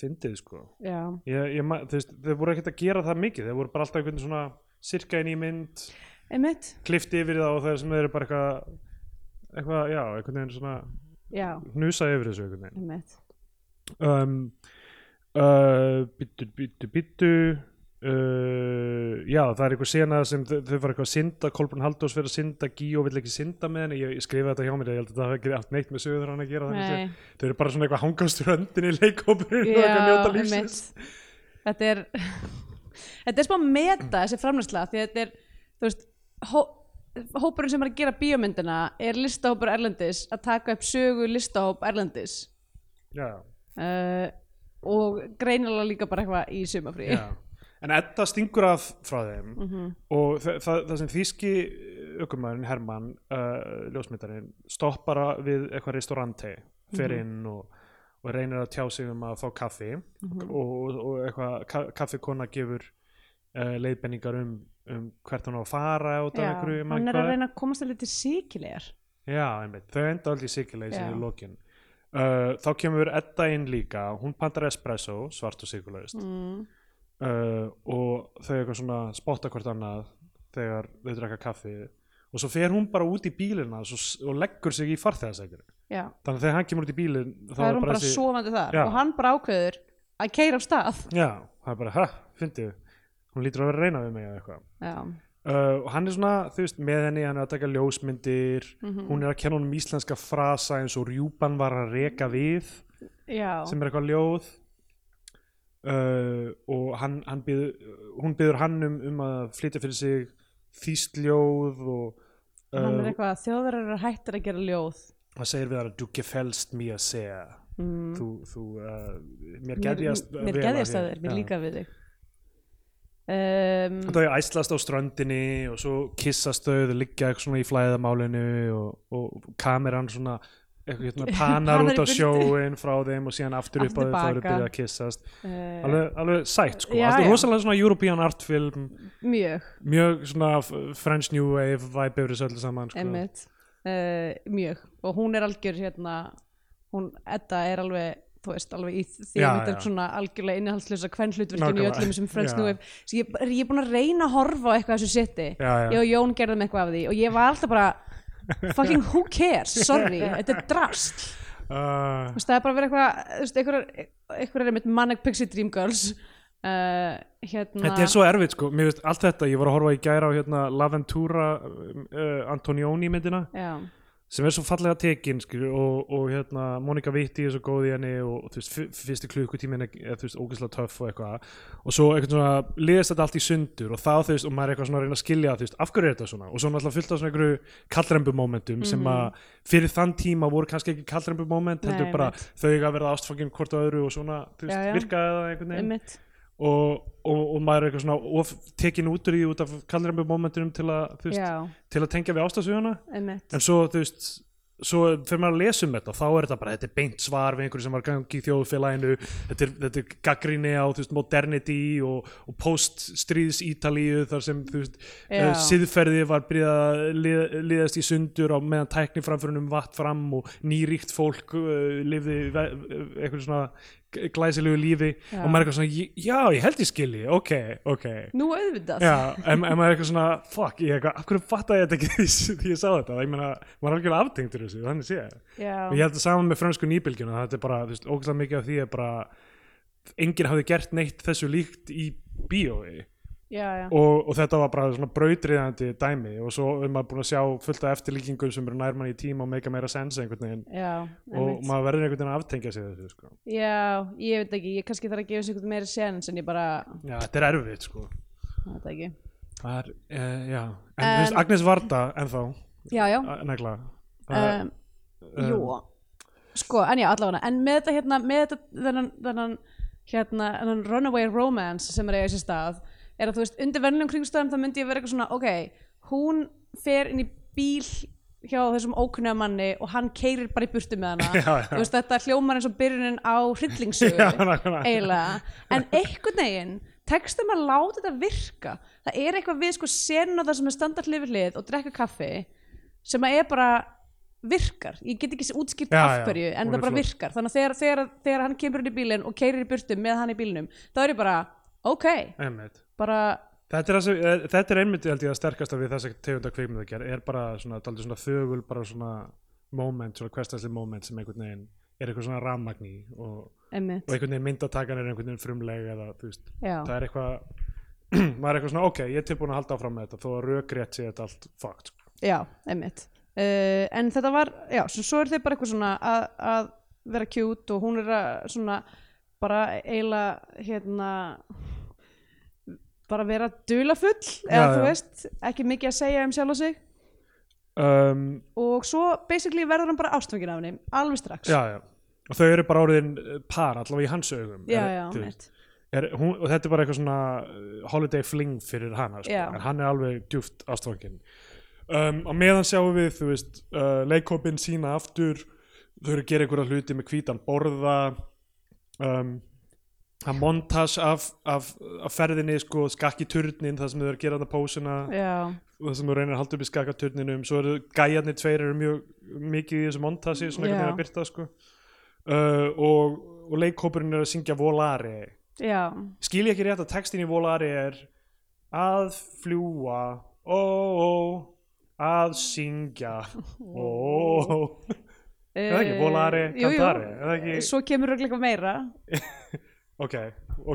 C: fyndið sko
B: Já.
C: ég, ég, ma- þú veist, Þeir voru ekkert að gera það mikið Þeir voru bara alltaf einhvern svona sirka inn í mynd
B: Einmitt,
C: klift yfir það og þeir sem þeir eru bara eitthvað eitthvað, já, einhvern veginn svona
B: já,
C: hnusa yfir þessu einhvern
B: einmitt.
C: veginn um, uh, Bittu, bittu, bittu Uh, já, það er eitthvað sena sem þau, þau var eitthvað að synda, Kolbrun Haldós fyrir að synda, Gíó vill ekki synda með henni ég, ég skrifaði þetta hjá mér, ég held að það hafi ekki haft neitt með sögur hann að gera þannig séð.
B: Nei,
C: þau eru bara svona eitthvað að hanga á ströndinni í leikhópurinn og eitthvað að
B: já,
C: njóta lífsins
B: einmitt. Þetta er, þetta er smá meta þessi framlæsla, því að þetta er, þú veist, hó, hópurinn sem er að gera bíómyndina er listahópur Erlendis að taka upp sögu listahóp Erlendis
C: já,
B: uh, og greinilega líka bara eitthvað í sumafrí.
C: já. en Edda stingur af frá þeim
B: Mhm.
C: og þa þa það sem þýski ökumæðurinn Hermann uh, ljósmyndarinn stoppar að- við eitthvað restauranti fer
B: Mhm.
C: inn og, og reynir að tjá sig um að fá kaffi
B: Mhm.
C: og, og eitthvað ka kaffikona gefur uh, leiðbenningar um, um hvert hann á að fara út af einhverju man
B: hann er
C: hvað
B: að reyna að komast að liti síkilegar.
C: Já, einmitt, þau enda aldrei sigurleysi
B: Já.
C: í lokin uh, Þá kemur Edda inn líka, hún pantar espresso svart og sigurlaust
B: Mm.
C: uh, og þau eitthvað svona spotta hvort annað þegar þau drekka kaffi og svo fer hún bara út í bílina svo, og leggur sig í farþegasækjur
B: Já.
C: þannig að þegar hann kemur út í bílin þá
B: það er hún bara
C: þessi-
B: sofandi þar
C: Já.
B: og hann bara ákveður að keira af stað
C: Já, það er bara, hæ, fyndið hún lítur að vera að reyna við mig eða eitthvað
B: já,
C: Uh, og hann er svona, þú veist, með henni hann er að taka ljósmyndir,
B: Mhm.
C: hún er að kenna honum íslenska frasa eins og rjúpan var að reka við
B: já.
C: sem er eitthvað ljóð uh, og hann, hann byður, hún byður hann um, um að flytja fyrir sig þýst ljóð og
B: hann
C: uh,
B: er eitthvað að þjóðar eru hættir að gera ljóð
C: hann segir við hann du gefellst mér að segja
B: mm.
C: þú, þú, uh, mér
B: mér,
C: geðjast
B: mér geðjast að þér, mér líka við þig um,
C: Þau æslast á ströndinni og svo kissast þau, þau liggja eitthvað svona í flæðamálinu og, og kameran svona eitthvað hérna panar
B: Panar í
C: út á
B: burtu.
C: sjóin frá þeim og síðan aftur upp á
B: Aftur
C: þau þá eru
B: baka.
C: byrjað að kissast
B: uh,
C: alveg, alveg sætt sko,
B: Já,
C: þetta
B: já.
C: er rosalega svona European art film
B: mjög,
C: mjög svona f- French New Wave vibe yfir þessu öllu saman sko.
B: emmitt uh, mjög, og hún er algjör hérna, hún, Edda er alveg þú veist, alveg í því
C: Já,
B: að þetta er
C: já.
B: svona algjörlega innihaldslösa hvern hlutverkinu í
C: Nákvæmlega.
B: öllum sem
C: Já.
B: Friends New Wave Svo ég, ég er búin að reyna að horfa á eitthvað þessu seti
C: Já, já.
B: ég og Jón gerðum eitthvað af því og ég var alltaf bara fucking who cares, sorry, þetta er drast
C: Uh,
B: það er bara að vera eitthvað þú veist, einhverjar- einhverjar er mitt manic pixie dream girls uh, hérna
C: þetta er svo erfitt sko, mér veist allt þetta ég var að horfa í gæra á hérna Laventura uh, Antonioni myndina
B: já,
C: sem er svo fallega tekin skil, og, og hérna Monika Vitti er svo góð í henni og þú veist, fyr- fyrsti klukkutímin er er, þú veist, ógeðslega töff og eitthvað og svo eitthvað svona, liðast þetta allt í sundur og þá þú veist, og maður er eitthvað svona að reyna að skilja þú veist, af hverju er þetta svona, og svo náttúrulega fullt af svona einhverju kallrembumómentum sem að fyrir þann tíma voru kannski ekki kallrembumóment heldur
B: Mhm. Nei,
C: bara
B: einmitt.
C: þau eiga að verða ástfangin hvort á öðru og svona, þú veist,
B: Já, já.
C: virkaði það einhvern veginn
B: einmitt
C: og, og, og maður er eitthvað svona of tekin út úr í út af kallræmi momentinum til að, þú veist,
B: já,
C: til að tengja við ástafsuguna
B: einmitt
C: en svo þú veist svo fyrir maður að lesa um þetta þá er þetta bara, þetta er beint svar við einhverju sem var í gangi í þjóðfélaginu þetta er, þetta er gaggrinni á þú veist, modernity og, og post-stríðs Ítalíu þar sem þú veist,
B: Já.
C: uh, siðferði var byrjað að lið, liðast í sundur á meðan tækni framförunum vatt fram og nýríkt fólk uh, lifði ve- einhverju svona glæsilegu lífi
B: Já.
C: og maður er eitthvað svona, "J- já, ég held ég skilji ok, ok,
B: Nú auðvitað
C: Já, en, en maður er eitthvað svona, fuck, ég er eitthvað, af hverju fattaði ég þetta ekki því því ég sá þetta, ég meina, maður er algjörlega aftengtur þessu, þannig sé ég.
B: Já.
C: Og Ég held það saman með frönsku nýbylgjuna, þetta er bara, þú veist, ógæslega mikið af því er bara, enginn hafði gert neitt þessu líkt í bíói
B: já, já.
C: og, og þetta var bara svona brautriðandi dæmi og svo er maður búin að sjá fullt af eftirlíkingum sem eru nærmann í tíma og meika meira sense einhvern veginn
B: Já,
C: og
B: einmitt.
C: maður verður einhvern veginn að aftengja sig þessu, sko.
B: já, ég veit ekki, ég kannski þarf að gefa sér eitthvað meira séns en ég bara,
C: Já, þetta er erfitt, sko.
B: það veit ekki.
C: Það er, uh, já, en,
B: En-
C: þú veist, Agnes Varda, ennþá,
B: Já, já,
C: að- negla. Það-
B: um,
C: ehm,
B: jú, sko, en já, allavega, en með þetta hérna, með þetta, þennan, þennan, hérna, þennan runaway romance sem er eiga sér stað, er að þú veist, undir vennilegum kringstæðum þá myndi ég vera eitthvað svona, ok, hún fer inn í bíl hjá þessum ókunnega manni og hann keirir bara í burtu með hana
C: Já, já.
B: Þú veist, þetta hljómar eins og byrjunin á hryllingsugu
C: Já, nákvæmlega.
B: eiginlega, en einhvern veginn tekst þeim að láta þetta virka það er eitthvað við sko senu það sem er standart lifið hlið og drekka kaffi sem að er bara virkar ég get ekki útskipt
C: Já,
B: af
C: já,
B: hverju en
C: hún
B: það
C: er
B: bara
C: flott.
B: virkar, þannig að þegar, þegar, þegar hann kemur inn í bílinn og keirir í burtu með hann í bílinnum þá er ég bara, ok,
C: Einmitt.
B: bara
C: Þetta er, það sem, eh, þetta er einmitt held ég að sterkasta við þess að tegunda kvikmyndagerð er bara svona, daldið svona þögul bara svona moment, svona hverstasli moment sem einhvern veginn er eitthvað svona rammagn í og, og
B: emmitt,
C: einhvern veginn myndatakan er einhvern veginn frumleg eða þú veist,
B: já,
C: það er eitthvað maður er eitthvað svona, ok, ég er tilbúin að halda áfram með þetta þó að rökrétt sé þetta allt sko. fakt
B: já, emmitt uh, en þetta var, já, svo, svo er þau bara eitthvað svona að, að vera cute og hún er að svona bara eiginlega hérna bara vera dulafull eða
C: Já,
B: þú
C: já.
B: veist, ekki mikið að segja um sjálf og sig
C: um,
B: og svo basically verður hann bara ástfangin af henni alveg strax
C: Já, já og þau eru bara orðin eh, par allavega í hans augum
B: já,
C: Er-
B: já,
C: þú veist,
B: mitt
C: er, hún, og þetta er bara eitthvað svona uh, holiday fling fyrir hana sko,
B: Já.
C: en hann er alveg djúft ástfangin um, og meðan sjáum við þú veist, uh, leikopin sína aftur þau eru að gera einhverja hluti með hvítan borða um, að montas af, af, af ferðinni sko, skakki turnin það sem þau eru að gera þarna pósuna
B: já,
C: það sem þú reynir að halda upp í skakaturninum svo eru gæjarnir tveir eru mjög mikið í þessu montasi svona
B: Já.
C: hvernig er að byrta sko. uh, og, og leikhópurinn er að syngja Volare
B: já,
C: skil ég ekki rétt að textin í Volare er að fljúa ó, ó, að syngja ó, ó, ó er það ekki Volare,
B: Eh, Jú, jú.
C: Cantare er það ekki,
B: svo kemur örugglega eitthvað meira
C: ok,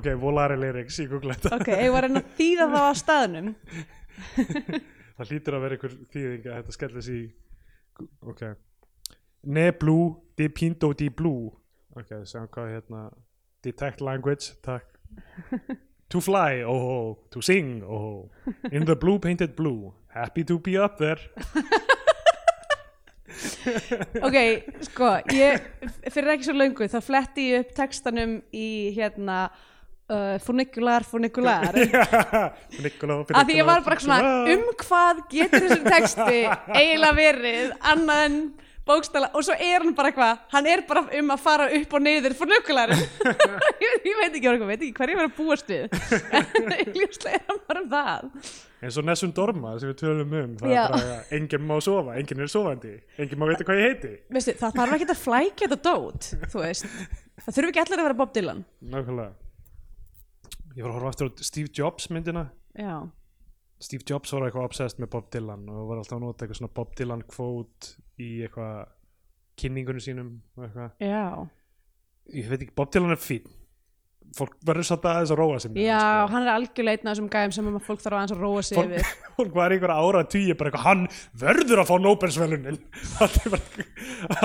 C: ok, Volare lyrics, ég googla þetta
B: ok, ég var að reyna að þýða það á staðnum
C: það hlýtur að vera einhver þýðing að þetta skellis í ok ne blú, de pinto di blú ok, segjum hvað hérna detect language, takk to fly, oh oh, to sing, oh oh in the blue painted blue happy to be up there
B: ok, sko, ég fyrir ekki svo löngu, þá fletti ég upp textanum í hérna uh, funicular, funicular
C: Niccolo,
B: af því ég var bara svona
C: Ah,
B: um hvað getur þessum texti eiginlega verið annað en bókstala og svo er hann bara eitthvað, hann er bara um að fara upp og niður fór nökulærin ég, ég veit ekki, ég veit ekki hvað ég verið að búast við en ljóslega er hann bara um það
C: eins og Nessun Dorma sem við tölum um það
B: Já.
C: er bara, enginn má sofa, enginn er sofandi enginn má vita hvað ég heiti
B: Veistu, það þarf ekki að flækja þetta dót þú veist, það þurfi ekki allir að vera Bob Dylan
C: nákvæmlega ég var að horfa aftur á Steve Jobs myndina
B: já,
C: Steve Jobs var eitthvað obsessed með Bob Dylan og var alltaf að nota eitthvað svona Bob Dylan kvót í eitthvað kynningunum sínum og eitthvað.
B: já,
C: ég veit ekki, Bob Dylan er fín fólk verður satt aðeins að róa sem
B: já hann er algjörlega einn af þessum gæm sem að fólk þarf aðeins að róa sig
C: fólk,
B: yfir
C: fólk var einhver ára tíu bara eitthvað, hann verður að fá Nóbelsvelunin allir bara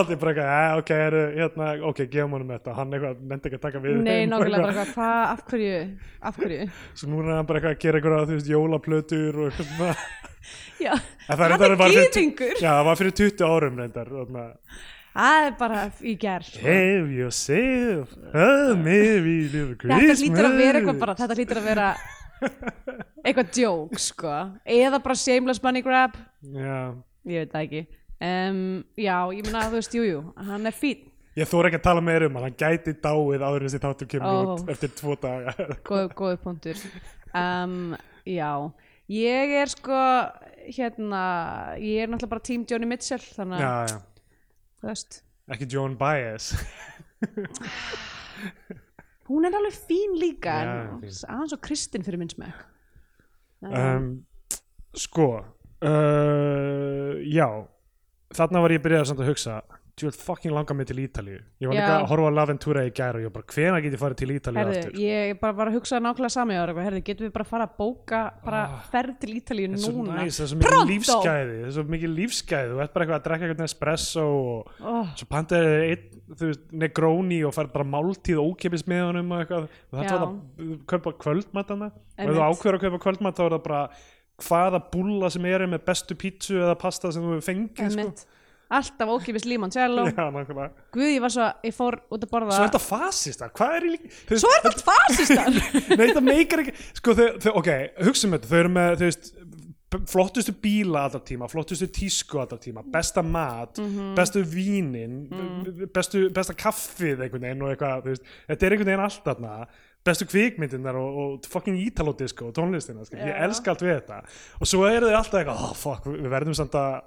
C: allir bara eitthvað, "Eh, ok, heru, hérna, ok, gefum honum þetta hann eitthvað, nefndi ekki að taka við þeim
B: nei,
C: og
B: nákvæmlega
C: eitthvað.
B: bara eitthvað, hvað, af hverju af hverju,
C: svo núna er hann bara eitthvað að gera eitthvað, þú veist, jólaplötur og eitthvað svona
B: já,
C: En
B: hann
C: reyndar
B: er
C: var fyrir tu-
B: gýðingur
C: Já, það var fyrir 20 árum reyndar þarna.
B: Æ, það er bara í gerð sko.
C: Have yourself a merry little
B: þetta
C: Christmas
B: hlýtur að vera eitthvað bara þetta hlýtur að vera eitthvað joke sko eða bara shameless money grab
C: Já,
B: ég veit það ekki um, já, ég meina þú veist, jújú, jú, hann er fín
C: ég þóra ekki að tala meira um hann hann gæti dáið áður en þessi þáttur kemur
B: Ó.
C: út eftir tvo daga
B: góð, góð punktur um, já, ég er sko hérna ég er náttúrulega bara team Johnny Mitchell þannig að,
C: Já, já,
B: þú veist
C: ekki John Baez
B: hún er alveg fín líka
C: Já,
B: en
C: fín.
B: aðeins og kristinn fyrir minn smekk
C: um, Sko uh, Já Þarna var ég byrjað samt að hugsa Þú ert fucking langa mig til Ítalíu Ég var
B: Já.
C: líka að horfa á Laventura í gær og ég var bara hvena get ég farið til Ítalíu
B: Herðu,
C: aftur
B: ég bara var að hugsa nákvæmlega sami ára Herðu, getum við bara að fara að bóka bara ferð til
C: Það
B: Ítalíu
C: Ah, er svo
B: núna
C: næs, það er svo
B: Pronto!
C: mikið lífsgæði það er svo mikið lífsgæði, þú ert bara eitthvað að drekka eitthvað espresso og
B: oh,
C: svo pantaði þér einn, þú veist, negróni og færð bara máltíð ókipis með honum og eitthvað og
B: Já.
C: þetta var það að kaupa kvöldmatana og ef þú
B: Einmitt.
C: ákveður að kaupa kvöldmat þá er það bara hvaða búlla sem er með bestu pítsu eða pasta sem þú hefur fengið sko.
B: einmitt. alltaf ókipis limoncello
C: Já, nákvæmlega.
B: Guð, ég var svo, ég fór út að borða
C: Svo er þetta fasista, hvað er í líka þú veist,
B: Svo er þetta allt fasistar
C: Nei, það meikar ekki Sko, þau, þau, ok, hugsa um þetta Þau eru með, þú veist b- flottustu bíla alltaf tíma, flottustu tísku alltaf tíma, besta mat
B: Mhm.
C: bestu vínin bestu, besta kaffið einhvern veginn og eitthvað, þú veist, þetta er einhvern veginn allt þarna bestu kvikmyndirnar og, og fucking ítalodisko og tónlistina, sko. ég
B: Já.
C: elska allt við þetta og svo eru þau alltaf eitthvað, oh fuck við við verðum samt að,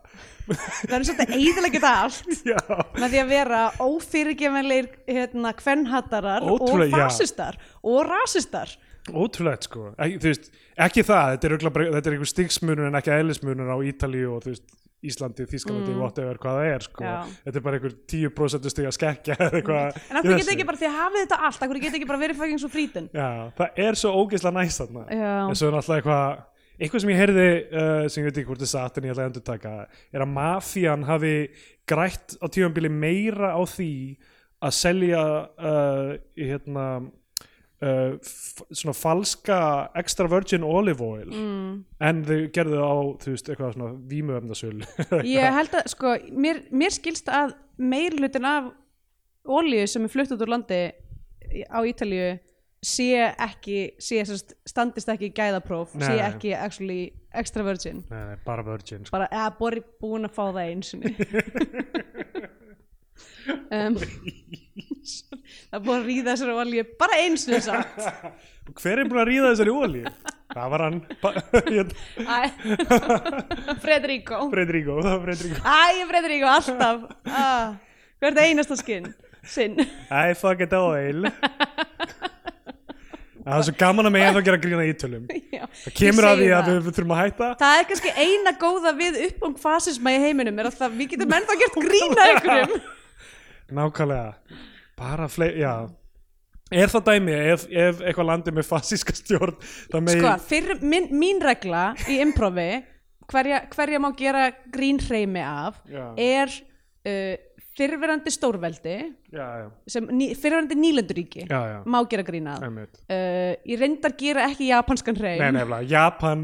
B: Það er svolítið eiðilegget allt
C: já
B: með því að vera ófyrirgefanleir hérna, kvennhattarar og
C: Ótrúlega, já.
B: fasistar og rasistar
C: Ótrúlegt sko, ekki, þú veist, ekki það, þetta er, örugglega bara- þetta er einhver stigsmunur en ekki eðlismunur á Ítalíu og þú veist, Íslandi, Þískalandi, whatever, hvað það er sko,
B: Mm. Já.
C: þetta er bara einhver 10% stig að skekja eða eitthvað.
B: En af
C: í
B: hverju
C: þessu.
B: geta ekki bara því að hafið þetta allt af hverju geta ekki bara verið fucking svo frítin
C: Já, það er svo ógeðslega næst þarna,
B: Já.
C: en svo er náttúrulega eitthvað, eitthvað sem ég heyrði, uh, sem ég veit ekki hvort er satt en ég ætla að endurtaka, er að mafían hafi grætt á tífambili meira á því að selja, uh, hérna, uh, f- svona falska extra virgin olive oil mm. en þau gerðu á þú veist eitthvað svona vímuöfndasölu
B: Ég held að, sko, mér, mér skilst að meirlutin af olíu sem er flutt út úr landi á Ítalíu sé ekki, sé sérst, standist ekki í gæðapróf,
C: Nei,
B: sé
C: nei.
B: ekki actually extra virgin
C: nei, nei, bara virgin sko.
B: bara "Ah, eða bori búin að fá það eins um, það er búin að ríða þessari olíu bara eins og samt
C: hver er búin að ríða þessari olíu? það var hann hérna, Ba-
B: Æ, Fredrico
C: Fredrigo, það var Fredrigo
B: Æ, Fredrico, alltaf ah, hvert einasta skinn sinn
C: I fuck it oil það er svo gaman að mig ennþá gera grína ítölum
B: Já,
C: það kemur
B: ég
C: að
B: segi
C: því að
B: það.
C: við, við þurfum að hætta
B: Það er kannski eina góða við uppgang fasisma í heiminum er að það, við getum ennþá gert grína einhverjum
C: nákvæmlega bara fleið, já er það dæmi ef, ef eitthvað landið með fasíska stjórn það megi
B: Sko, fyrir, mín, mín regla í improvi hverja, hverja má gera grín hreimi af
C: Já.
B: er uh, fyrirverandi stórveldi
C: já, já,
B: sem ný, fyrirverandi nýlenduríki
C: já, já.
B: má gera grín af uh,
C: Einmitt.
B: ég reyndar gera ekki japanskan hreim
C: Nei, nefnilega, Japan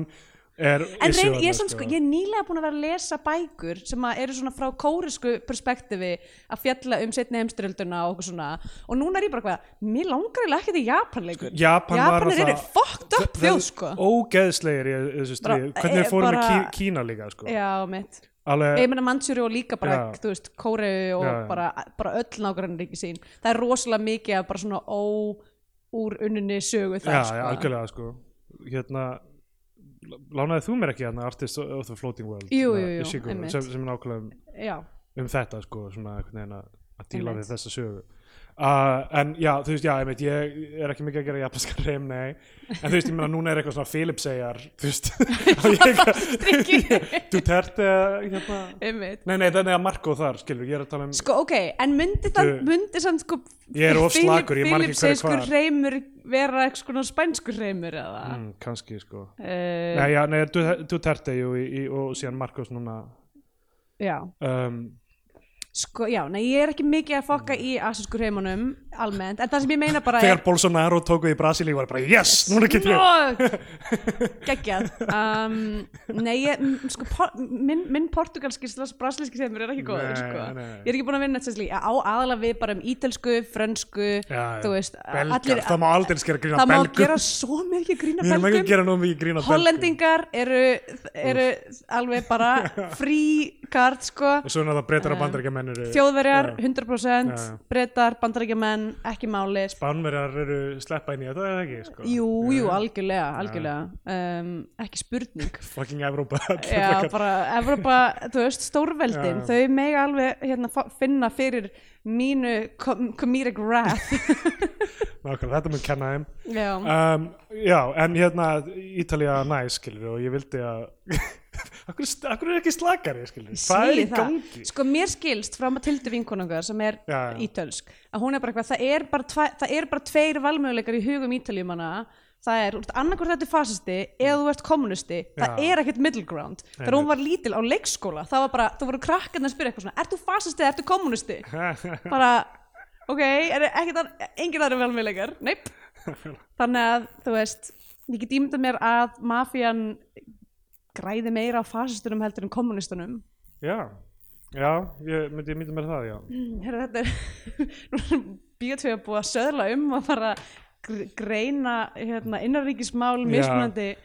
C: er
B: En
C: issue
B: reyn,
C: þarna,
B: ég, er samt, sko, ég er nýlega búin að vera að lesa bækur sem að eru svona frá kórisku perspektífi að fjalla um setni heimstyrjölduna og okkur svona og núna er ég bara hvað, mér langar eiginlega ekki til Japan leikur
C: Sko, Japan var
B: Japanir eru
C: náttúrulega- Þe-
B: fucked up
C: þeir
B: þjóð
C: eru
B: sko
C: Ógeðslegir í þessu
B: Bara-
C: stríð Hvernig
B: eh,
C: við fórum
B: bara-
C: með Kí- Kína líka sko.
B: Já, Eh, mitt Ég
C: Alveg,
B: meina Manchúri og líka bara,
C: Já.
B: þú veist, Kóreu og
C: Já, já.
B: Bara, bara öll nágrann ríki sín. Það er rosalega mikið að bara svona óúr unninni sögu
C: já,
B: það,
C: já, algjörlega sko. Hérna Lánaði þú mér ekki hérna Artist of the Floating World
B: Jú,
C: hérna,
B: jú, jú,
C: Ishiguro,
B: einmitt.
C: sem, sem er nákvæmlega um,
B: Já,
C: um þetta sko, svona einhvern veginn að að díla
B: Einmitt.
C: við þessa sögu Uh, en já, þú veist, já, ég veit, ég er ekki mikið að gera japanskan reym, nei en þú veist, ég meina, núna er eitthvað svona Philipseyjar þú veist, að ég
B: Strikki.
C: Duterte, hérna
B: einmitt.
C: Nei, nei, þannig að Marko þar, skilur, ég er að tala um
B: Sko, ok, en myndi það,
C: Þú-
B: myndi sann sko
C: Ég er of slakur, ég man ekki hverju
B: Filipsískur
C: hvar.
B: reymur vera eitthvað svona spænskur reymur eða
C: mm, Kanski, sko
B: uh,
C: Nei, já, nei, Duterte, jú, í, í, og síðan Marcos núna
B: Já,
C: um,
B: Sko, já, nei, ég er ekki mikið að fokka í asísku heimunum almennt, en það sem ég meina bara
C: Þegar Bolsonaro tók við í Brasilíu var ég bara yes, núna get ég
B: Nó! geggjað um, nei, ég, m- sko por, minn, minn portugalski slags brasilíski semur er ekki góður
C: Nei,
B: sko.
C: nei.
B: ég er ekki búin að vinna þess að á aðalega við bara um ítelsku, frönsku
C: Já,
B: þú veist,
C: belgar, það má aldrei skera grína
B: það má
C: belgum
B: gera svo mikið grína
C: Við erum ekki að
B: belgum
C: gera nóg mikið grína
B: hollendingar eru, eru alveg bara fríkart sko
C: Og svo er það breytar að bandar ekki mennur
B: þjóðverjar, 100%
C: Já, já.
B: breytar, bandarækjumenn, ekki máli
C: Spánverjar eru sleppa inn í þetta er það ekki sko.
B: jú, jú, algjörlega, algjörlega um, ekki spurning
C: Fucking Evrópa
B: Já, bara Evropa, þú veist, stórveldin þau mega alveg hérna, fa- finna fyrir mínu com comedic wrath
C: Nákvæmlega, þetta mun kenna þeim
B: Já,
C: um, Já, en hérna Ítalía næ, skilur og ég vildi að Akkur, akkur er ekki slakari, skilur
B: ég
C: Hvað er
B: segi
C: í gangi?
B: Sko, mér skilst frá Matildu vinkonungar sem er
C: Já, já.
B: ítölsk að hún er bara eitthvað, það er bara, tva, það er bara tveir valmöguleikar í hugum ítaljumana það er, annarkvort þetta er fasisti eða þú ert kommunisti, það
C: Já.
B: er ekkert middle ground þegar hún var lítil á leikskóla það var bara, þú voru krakkarnir að spyrja eitthvað svona ert þú fasisti eða ert þú kommunisti bara, ok, er ekkert að, engin aðra velmiðleikar, neip þannig að, þú veist ég get ímyndað mér að mafían græði meira á fasistunum heldur en kommunistunum
C: Já, já, ég myndi, ég myndi mér það, já
B: Heru, þetta er, nú er bíotvið að búa að söðla um að fara að gr- greina hérna, innanríkismál mismunandi uh,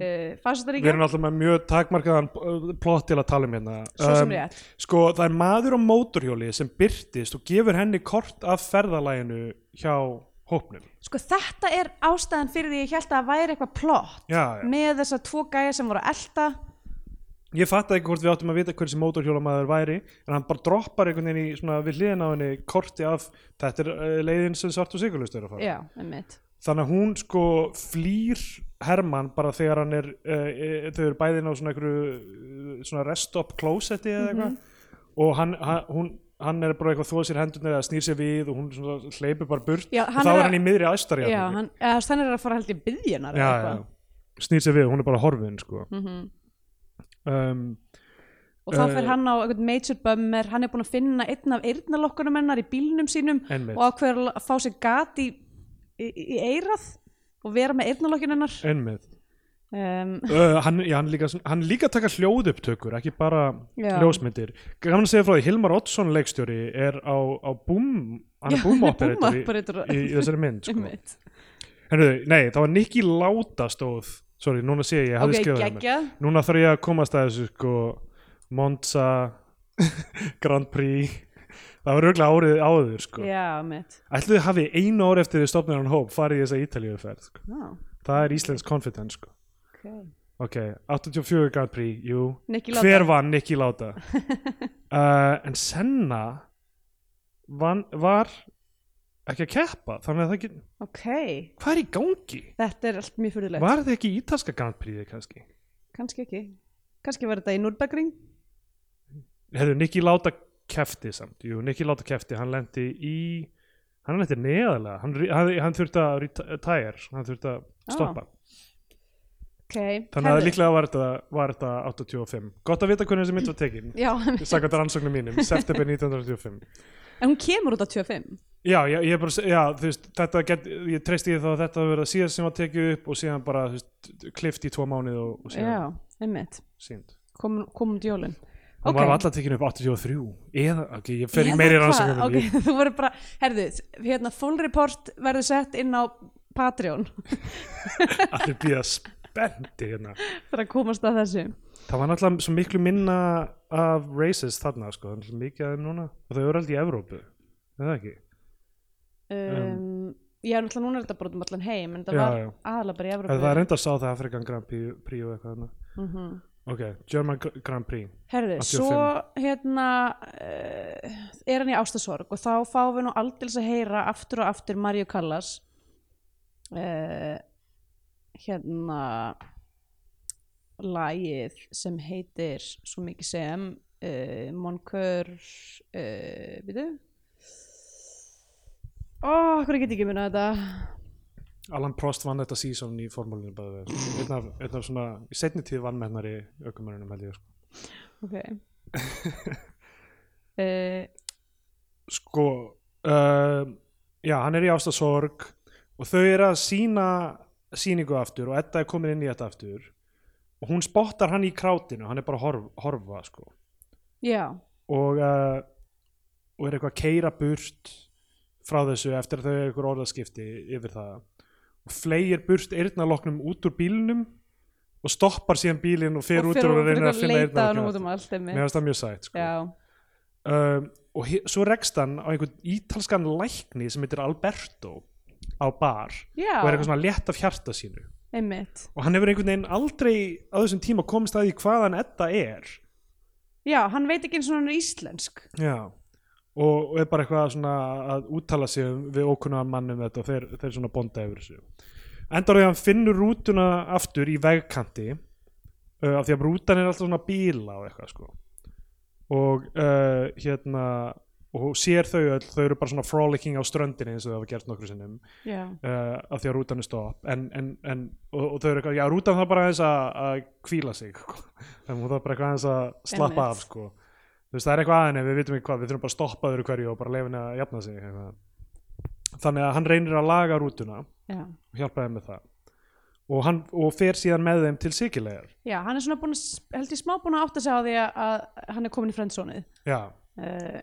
C: Við erum
B: fasistaríkja
C: alltaf með mjög takmarkaðan uh, plott til að tala um hérna
B: Svo sem
C: Um,
B: rétt.
C: Sko, það er maður á mótorhjóli sem byrtist og gefur henni kort af ferðalæginu hjá hópnum
B: sko þetta er ástæðan fyrir því ég held að það væri eitthvað plott
C: Já, já.
B: með þessa tvo gæja sem voru að elta
C: Ég fattaði ekki hvort við áttum að vita hver sem mótorhjólamaður væri en hann bara droppar einhvern veginn í svona við hliðin á henni korti af þetta er uh, leiðin sem svart og sigurlust er að fara
B: já, einmitt
C: þannig að hún sko flýr Hermann bara þegar hann er uh, e, þau eru bæðin á svona einhverju eh, svona restop klósetti eða eitthvað
B: Mhm.
C: og hann, hann, hún, hann er bara eitthvað þóð sér hendurnar eða snýr sér við og hún svona hleypur bara burt
B: Já,
C: og
B: hann
C: þá
B: er
C: er
B: að-
C: hann í miðri æstarja
B: Já, hann, eða, þú veist, hann er að fara held í byðjunar
C: já, já, snýr sér við, hún er bara horfin sko. um,
B: Mhm. og
C: Eh.
B: þá fer hann á einhvern major bummer hann er búinn að finna einn af eyrnalokkunum hennar í bílnum sínum
C: Einmitt.
B: og ákveður að fá sér gat í, í, í eyrað og vera með eyrnalokkun hennar
C: einmitt
B: um,
C: Uh, hann, já, hann, líka, hann líka taka hljóðupptökur ekki bara
B: Já.
C: ljósmyndir gaman að segja frá því, Hilmar Oddsson leikstjóri er á, á boom hann
B: Já,
C: er boom
B: hann er
C: operator í,
B: boom-operator.
C: í, í þessari mynd sko.
B: einmitt.
C: Herru, nei, það var Nicky Láta stóð sorry, núna sé ég, ég hafði
B: ok,
C: skrifað það
B: geggja
C: mér. núna þarf ég að komast að þessu sko, Monza Grand Prix það var auðvitað árið áður sko.
B: já, mitt
C: ætluðu þið hafi einu ár eftir þið stopnir hann hóp farið í þessa Ítalíuferð sko.
B: oh,
C: það er Íslensk confidence sko.
B: okay.
C: Ok, 84 Grand Prix, jú
B: Nicky Lauda.
C: Hver vann Nicky Lauda? uh, en Senna van, var ekki að keppa þannig að það ekki,
B: ok,
C: hvað er í gangi?
B: þetta er allt mjög fyrirlegt
C: Var það ekki í ítalska Grand Prixið kannski?
B: kannski ekki, kannski var þetta í Nürburgring
C: Hefðu Nicky Lauda kefti samt, jú, Nicky Lauda kefti hann lendi í, hann lendi neðalega hann, ri- hann, hann þurfti að retire hann þurfti að stoppa
B: ok,
C: þannig að
B: Ah, herðu.
C: líklega var þetta, var þetta 85 gott að vita hvernig þessi mynd var tekin
B: já, einmitt.
C: Sakat rannsóknum mínum, september 1985
B: en hún kemur út á 25
C: Já, ég, ég bara, já, þú veist, þetta get, ég treysti því þá að þetta hafi verið að síðast sem var tekið upp og síðan bara, þú veist, klift í tvo mánuð og, og síðan
B: já, einmitt,
C: sínd.
B: komum kom um djólin
C: Hún var alltaf tekin upp 83, eða, ok, ég fer í
B: Eða
C: meiri
B: hvað?
C: rannsóknum
B: ok, þú voru bara, herðu, hérna full report verður sett inn á Patreon
C: ég allir býða spendi hérna.
B: fyrir að komast að þessu
C: Það var náttúrulega svo miklu minna af races þarna, sko, það er náttúrulega mikið af þeim núna og þau eru aldrei í Evrópu, er það ekki?
B: um, já, náttúrulega núna er þetta bara út um allan heim en þetta
C: Já,
B: var
C: já.
B: aðalega bara í Evrópu
C: Það er enda sá það Afrikan Grand Prix Prix og eitthvað þarna.
B: Mhm.
C: Ok, German Gr- Grand Prix.
B: herðu,
C: 85.
B: svo hérna uh, er hann í ástasorg og þá fáum við nú aldils að heyra aftur og aftur Mario Callas uh, hérna lagið sem heitir svo mikið sem uh, Moncur uh, býtu ó, hvernig get ég ekki minna þetta
C: Alan Prost vann þetta season í formúlinu bæði við, sko. einn af, einn af svona í setni tíð vannmennari ökumörunum held ég sko.
B: ok uh,
C: sko uh, já, hann er í ástasorg og þau eru að sína síningu aftur og Edda er komin inn í þetta aftur og hún spottar hann í krátinu hann er bara að horf, horfa sko
B: já,
C: og, uh, og er eitthvað að keira burt frá þessu eftir að þau eru eitthvað orðaskipti yfir það og fleir burt eyrnaloknum út úr bílnum og stoppar síðan bílinn og fer
B: og
C: út
B: fyrir
C: úr
B: hún
C: og reynir
B: fyrir
C: að
B: að
C: finna
B: leita hann út
C: eyrnaloknum
B: um allt einmitt.
C: mér finnst það mjög sætt sko.
B: já,
C: um, og he- svo rekst hann á einhvern ítalskan lækni sem heitir Alberto á bar
B: já,
C: og er eitthvað svona létt af hjarta sínu
B: einmitt
C: og hann hefur einhvern veginn aldrei á þessum tíma komist að því hvaðan Edda er
B: já, hann veit ekki eins og hann er íslensk
C: Já, og, og er bara eitthvað svona að úttala sig um- við ókunnaðan mann um þetta og þeir, þeir svona bonda yfir þessu. Endar því að hann finnur rútuna aftur í vegkanti uh, af því að rútan er alltaf svona bíla og eitthvað sko. Og uh, hérna, og sér þau öll, þau eru bara svona frolicking á ströndinni eins og þau hafa gert nokkru sinnum
B: já,
C: uh, af því að rútan er stopp en, en, en, og, og þau eru eitthvað, já rútan þarf bara aðeins að, að kvíla sig þannig að hún þarf bara eitthvað aðeins að slappa
B: Einmitt.
C: af sko. þú veist það er eitthvað aðeins við vitum ekki hvað, við þurfum bara að stoppa öðru hverju og bara leifin að jafna sig eitthvað. þannig að hann reynir að laga rútuna og
B: já
C: hjálpa þeim með það og, hann, og fer síðan með þeim til sikilegar
B: Já, hann er svona búin að, held ég smá búin að átta sig á því að, að hann er komin í frendsónið.
C: já,
B: Uh,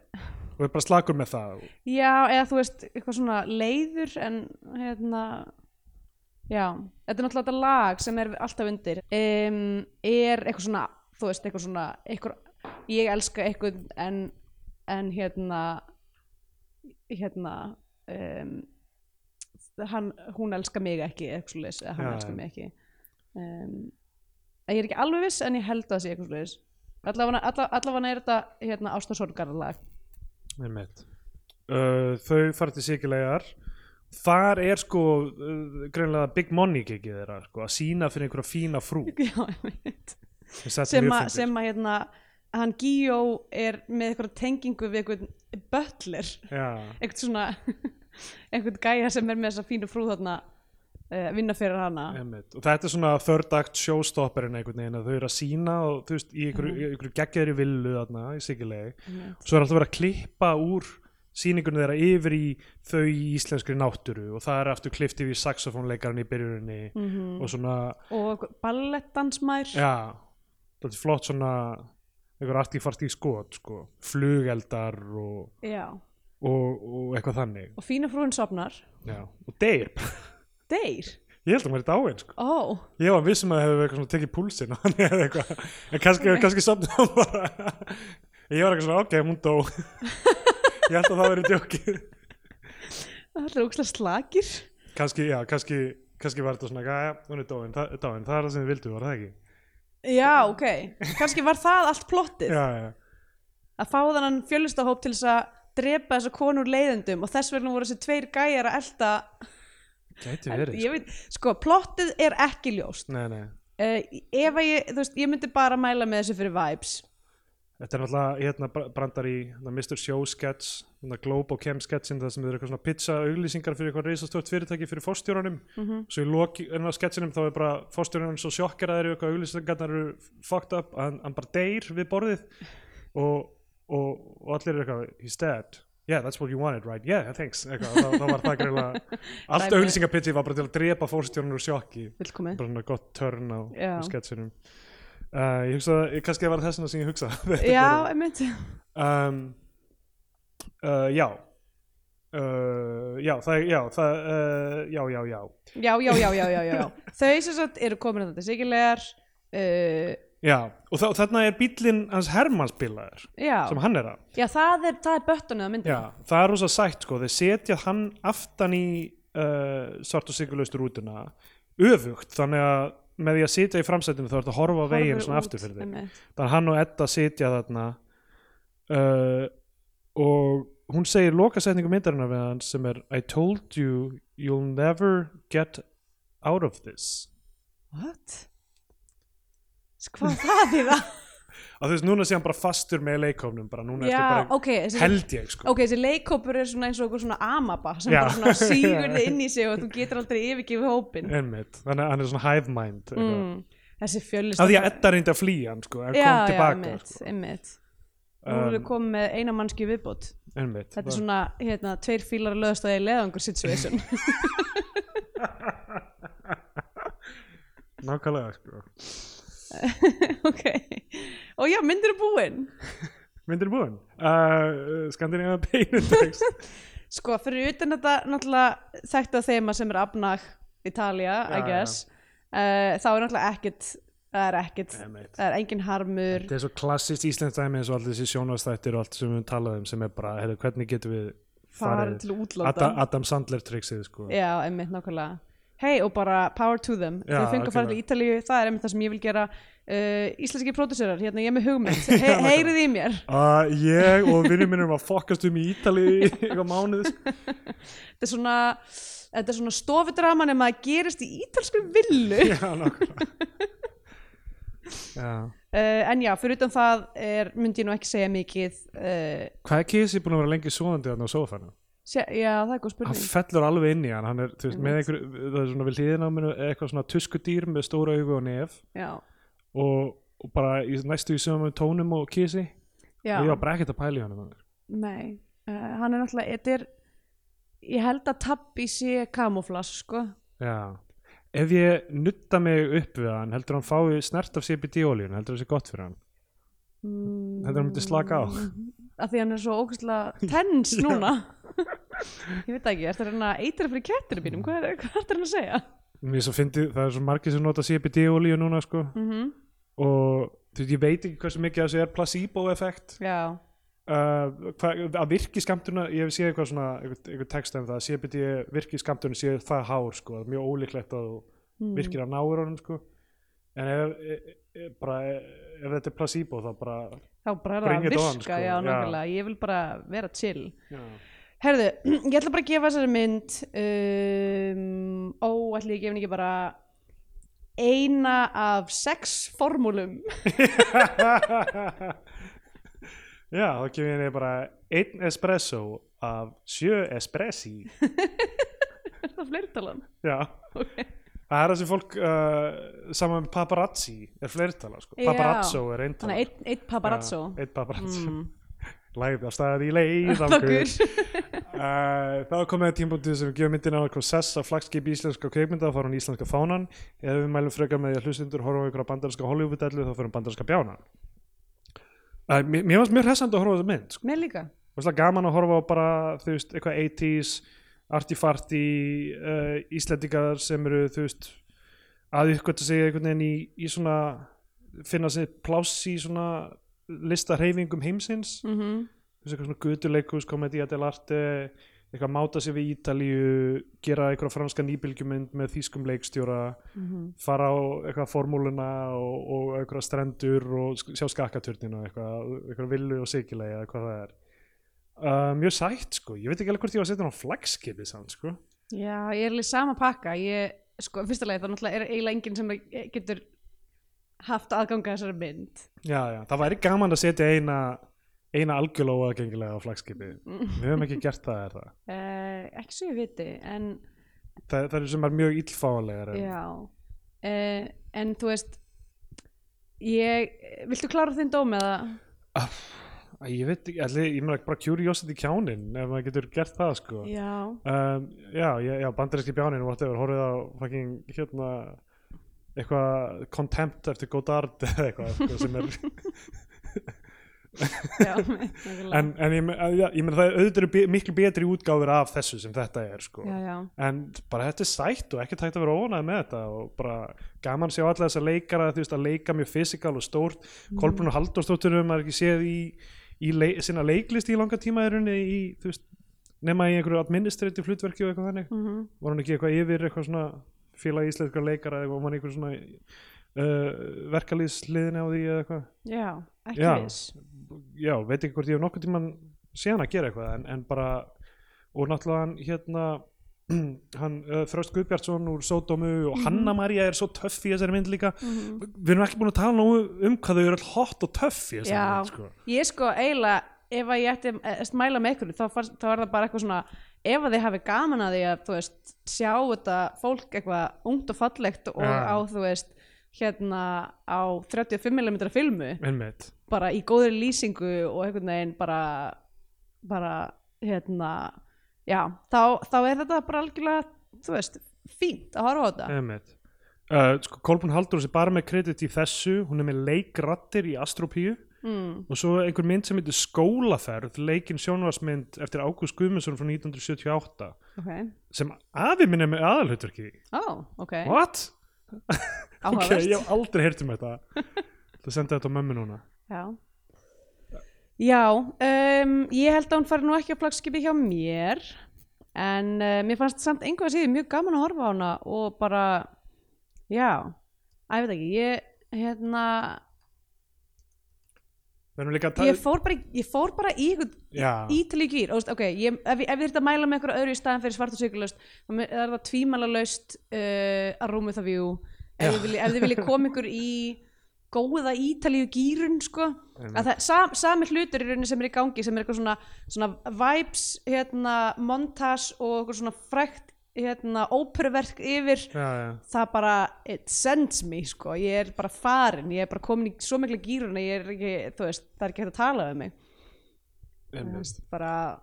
C: og er bara slakur með það
B: já, eða þú veist, eitthvað svona leiður en hérna, já, þetta er náttúrulega þetta lag sem er alltaf undir. Um, er eitthvað svona, þú veist, eitthvað svona, eitthvað, ég elska eitthvað en, en hérna, hérna, um, hann, hún elska mig ekki, eitthvað svo leis, hann
C: Já, já.
B: elska mig ekki. Um, ég er ekki alveg viss en ég held að það sé eitthvað svo leis. Allafana, alla, allafana er þetta hérna, ástasorgarlag.
C: Einmitt. Uh, þau fara til sikilegar þar er sko uh, greinlega big money kikið þeirra sko, að sína fyrir einhverja fína frú
B: Já, einmitt.
C: sem, setur
B: sem,
C: mjög
B: að,
C: fyndið.
B: sem að hérna hann Gíó er með eitthvað tengingu við eitthvað böllir
C: já,
B: eitthvað svona eitthvað gæja sem er með þessa fínu frú þarna uh, vinna fyrir hana
C: einmitt. og þetta er svona third act showstopperinn einhvern veginn að þau eru að sína og þú veist í einhverju, mm. einhverju geggjæðri villu þarna í sikileg
B: Einmitt.
C: svo er alltaf verið að klippa úr sýningunni þeirra yfir í þau í íslenskri náttúru og það er aftur klift yfir í saxofónleikarinn í byrjuninni
B: Mm.
C: og svona
B: Mhm. og ballettansmær
C: Já, þetta er flott svona einhver artífart í skot sko. flugeldar og,
B: Já.
C: og, og eitthvað þannig
B: og fína frúin sopnar
C: Já. og deyr,
B: deyr,
C: ég held að maður er dáin sko.
B: ó,
C: ég var vissum að það hefur eitthvað svona tekið púlsinn á hann eða eitthvað en kannski, kannski sopnaði hann bara ég var eitthvað svona, ok, hún dó ég held að það verið djókið
B: það er ógslag slakir
C: kannski, já, kannski kannski var þetta svona, já, hún er dáin, það, dáin það er það sem við vildum, var það ekki
B: Já, ok, kannski var það allt plottið
C: já, já,
B: að fá þannan fjölustahóp til þess að drepa þessa konur leiðendum og þess vegna voru þessi tveir gæjar að elta
C: gæti
B: En
C: verið
B: ég veit, sko, plottið er ekki ljóst uh,
C: sko. nei, nei
B: ef að ég, þú veist, ég myndi bara mæla með þessu fyrir vibes
C: Þetta er náttúrulega hérna br- brandar í hérna, Mr. Show sketch, hérna Globo Chem sketchin það sem þau eru eitthvað svona pizza auglýsingar fyrir eitthvað reisastort fyrirtæki fyrir forstjóranum svo í lok enna sketchinum þá er bara forstjóranum svo sjokkar að þeir eru eitthvað auglýsingarnar eru fucked up að hann- hann bara deyr við borðið og, og, og allir eru eitthvað he's dead, yeah that's what you wanted right yeah thanks, eitthvað, þá, þá var það greinlega allt
B: Dæmi.
C: auglýsingapitchið var bara til að drepa forstjóranum úr sjokki
B: Vilkomið
C: bara svona gott törn á, á
B: Já.
C: sketchinum uh, ég hugsa, ég, kannski það var þessna sem ég hugsa
B: Já, einmitt
C: um, uh, já uh, já, það, já, það uh, já, já, já
B: Já, já, já, já, já, já, já. Þau sem sagt eru komin að þetta sikilegar uh,
C: já, og þá, þarna er bíllinn hans Hermanns bílaður
B: Já,
C: sem hann er að
B: já, það er, það er böttunni að myndi
C: já, það er rosa sætt sko, þeir setja hann aftan í uh, svart og sigurlaustur útuna öfugt, þannig að með því að sitja í framsætinu þá ertu að horfa á veginn svona aftur fyrir þig þannig að hann og Edda sitja þarna uh, og hún segir lokasetningu myndarinnar við hann sem er I told you you'll never get out of this
B: What? S- Hvað það því það?
C: að þú veist núna sé hann bara fastur með leikofnum bara núna
B: já,
C: ertu bara
B: ok, þessi,
C: held ég sko
B: ok, þessi leikkópur er svona eins og einhver svona amaba sem
C: Já.
B: bara svona sígur þið inn í sig og þú getur aldrei yfirgefið hópin
C: einmitt, þannig að hann er svona hive mind mm.
B: mm. Þessi fjölist
C: að því að Edda reyndi að flýja hann sko en
B: já,
C: kom tilbaka
B: já, einmitt,
C: sko.
B: einmitt. nú erum við komið með eina mannski viðbót
C: einmitt
B: þetta er svona, hérna, tveir fílar löðast að ég leðangur situation
C: nákvæmlega sko.
B: ok, og já, myndir er búinn
C: myndir búin uh, Skandinavíða beinutex
B: sko, fyrir utan þetta náttúrulega þekkt að þeima sem er Abnag Italia, I
C: Já,
B: guess uh, þá er náttúrulega ekkit það er ekkit,
C: Einmitt.
B: það er engin harmur
C: þetta er svo klassist íslenskt dæmi eins og allir þessi sjónvastættir og allt sem við talaðum sem er bara, heyrðu, hvernig getum við
B: farið til útlanda
C: Adam, Adam Sandler triksið sko.
B: Já, einmitt nákvæmlega Hei og bara power to them
C: Já,
B: Þau fengu að fara til
C: algjörlega.
B: Ítalíu, það er einmitt það sem ég vil gera uh, Íslenski pródusörar, hérna ég er með hugmynd He Heyrið í mér
C: Uh, ég og vinnum minn erum að fokkast um í Ítali í eitthvað mánuð sko.
B: Þetta er svona, þetta er svona stofudrama nema að gerist í ítalsku villu
C: já, nákvæmlega já.
B: uh, En já, fyrir utan það er, myndi ég nú ekki segja mikið uh,
C: hvað er Kisi búin að vera lengi svoðandi þarna á sófanum?
B: sé, Já, það er góð
C: hann
B: spurning
C: fellur alveg inn í hann, hann er, þú veist, með einhver það er svona við hliðin á minu eitthvað svona tuskudýr með stóra augu og nef
B: Já,
C: og, og bara í, næstu í sömu tónum og Kisi
B: já,
C: og ég var bara ekkert að pæla í hann
B: nei uh, Hann er náttúrulega, þetta er Ég held að tabbi sé kamuflas, sko
C: já ef ég nutta mig upp við hann heldur hann fái snert af CBD olíun heldur það sé gott fyrir hann,
B: mm,
C: heldur hann myndi slaka á
B: að Mm, því hann er svo ógustlega tens núna ég veit það ekki, ertu að reyna að eitra fyrir kettir mínum, hvað er hvað ertu að reyna að segja
C: Mér svo fyndi, það er svo margir sem nota CBD olíu núna sko
B: mm
C: og þú veit, ég veit ekki hversu mikið af þessu er placebo-effekt
B: já,
C: uh, hva, að virki skamtuna ég hef séð eitthvað svona, eitthvað, eitthvað text um það CBD virki skamtuna séð það hár sko, það er mjög ólíklegt að þú
B: Mm.
C: virkir að náir honum sko en ef, e, e, bara, ef þetta er placebo þá bara
B: þá bara er það
C: Bring
B: að
C: it
B: virka
C: on, sko,
B: já,
C: já.
B: nákvæmlega, ég vil bara vera chill
C: já,
B: herðu, ég ætla bara að gefa þessari mynd um, ó, ætli ég gefa henni ekki bara eina af sex formúlum
C: já þá kemur ég henni bara einn espresso af sjö espressi
B: er það fleirtalan?
C: já
B: Okay.
C: Það er það sem fólk uh, saman með paparazzi er fleirtala sko.
B: Já.
C: Paparazzo er
B: þannig
C: eintala
B: að einn ein paparazzo
C: ja, Eitt paparazzo mm.
B: mm,
C: Læði af staði í leið
B: okkur
C: Uh, þá er komið að tímbútið sem gefur myndina á eitthvað sess að flagskip íslenska kveikmynda þá fara hún íslenska fánan eða við mælum frekar með því að hlustundur horfa á ykkur á bandarinska Hollywood-ellu þá fyrir bandarinska bjánan uh, Mér mér fannst mjög hressandi að horfa á þessa mynd sko.
B: mér líka
C: Visslega gaman að horfa á bara, þú veist, eitthvað 80s, artifarti, uh, íslendingar sem eru, þú veist, að ykkur að segja einhvern veginn í, í svona, finna sér pláss í svona lista hreyfingum heimsins,
B: mm
C: þú veist, eitthvað svona gutuleikus, komedía del arte, eitthvað máta sér við Ítalíu, gera eitthvað franska nýbylgjumynd með þýskum leikstjóra,
B: Mhm.
C: fara á eitthvað formúluna og, og eitthvað strendur og sk- sjá skakkaturnina og eitthvað, eitthvað villu og sikilega eða hvað það er uh, mjög sætt sko, ég veit ekki alveg hvort ég var að setja hann á flagskipi samt sko
B: Já, ég er alveg í sama pakka ég, sko, fyrsta leið þá náttúrulega er eiginlega enginn sem getur haft aðganga þessari mynd
C: já, já. það væri gaman að setja eina eina algjörlega aðgengilega á flagskipi við höfum ekki gert það er það
B: uh, ekki svo ég viti en
C: það, það eru sem er mjög illfálegar en...
B: já uh, en þú veist ég, viltu klára þinn dóm eða?
C: Æ, ég veit ekki, allir, ég meina bara curiosity kjánin ef maður getur gert það sko
B: Já,
C: um, já, já, já bandaríski bjáninn whatever, horfið á fucking hérna eitthvað contempt eftir Godard eða eitthvað sko, sem er,
B: já, nákvæmlega.
C: en, en ég, me- að- já, ég meina það er auðvitað eru be- miklu betri útgáfur af þessu sem þetta er sko.
B: já, já,
C: en bara þetta er sætt og ekki tækt að vera ónað með þetta og bara gaman að sjá alla þessa leikara þú veist að leika mjög fysikal og stórt mm. Kolbrun og Halldórsdóttur hefur maður ekki séð í, í le sinna leiklist í langa tíma í rauninni í, þú veist, nema í einhverju administrative hlutverki og eitthvað þannig
B: mm
C: var hann ekki eitthvað yfir eitthvað svona félag íslenskar leikara eða var hann einhver svona uh, verkalýsliðin á því eða eitthvað
B: já ekki
C: Já.
B: viss
C: já, veit ekki hvort ég hef nokkuð tíman séðan að gera eitthvað en, en bara og náttúrulega hann hérna hann uh, Þröst Guðbjartsson úr Sódómu og Hanna María er svo töff í þessari mynd líka við erum ekki búin að tala nógu um hvað þau eru all hot og töff í þessari
B: Já,
C: mynd sko.
B: ég sko eiginlega ef að ég ætti að mæla með ykkur þá, fannst, þá er það bara eitthvað svona ef að þið hafi gaman að því að þú veist sjá þetta fólk eitthvað ungt og fallegt og
C: Já.
B: á þú veist hérna á 35mm filmu
C: einmitt
B: bara í góðri lýsingu og einhvern veginn bara bara hérna já, þá, þá er þetta bara algjörlega þú veist, fínt að horfa á þetta
C: Emmett uh, sko, Kolbún Haldur er bara með kredit í þessu hún er með leikrattir í Astropíu
B: Hmm,
C: mm. og svo einhver mynd sem heitir Skólaferð leikinn sjónvarsmynd eftir Ágúst Guðmundsson frá 1978
B: ok,
C: sem afi minn er með aðalhutverki í.
B: ó, ok,
C: What? ok,
B: áhugavert
C: ég hef aldrei heyrt um þetta Það sendi þetta á mömmu núna
B: já já, um, ég held að hún fari nú ekki á flagskipi hjá mér en uh, mér fannst samt einhverja síður mjög gaman að horfa á hana og bara já, að ég veit ekki ég hérna,
C: Við erum líka að
B: ég fór bara, í- ég fór bara í einhvern
C: Já,
B: ítalíu gýr, óst, ok, ég, ef, ég- ef ég þurft að mæla með eitthvað öðru í staðan fyrir svart og sykulust þá mun- er það tvímælalaust uh, að rúmi það vjú ef þið vilji- ef þið viljið koma ykkur í góða ítalíu gýrun sko. Að það, sam, sami hlutur í rauninni sem er í gangi sem er eitthvað svona, svona vibes hérna, montage og eitthvað svona frækt hérna, óperuverk yfir
C: já, já
B: það bara, it sends me sko. ég er bara farin, ég er bara komin í svo mikla gýrun að ég er ekki, þú veist það er ekki hægt að tala um mig Þú veist, bara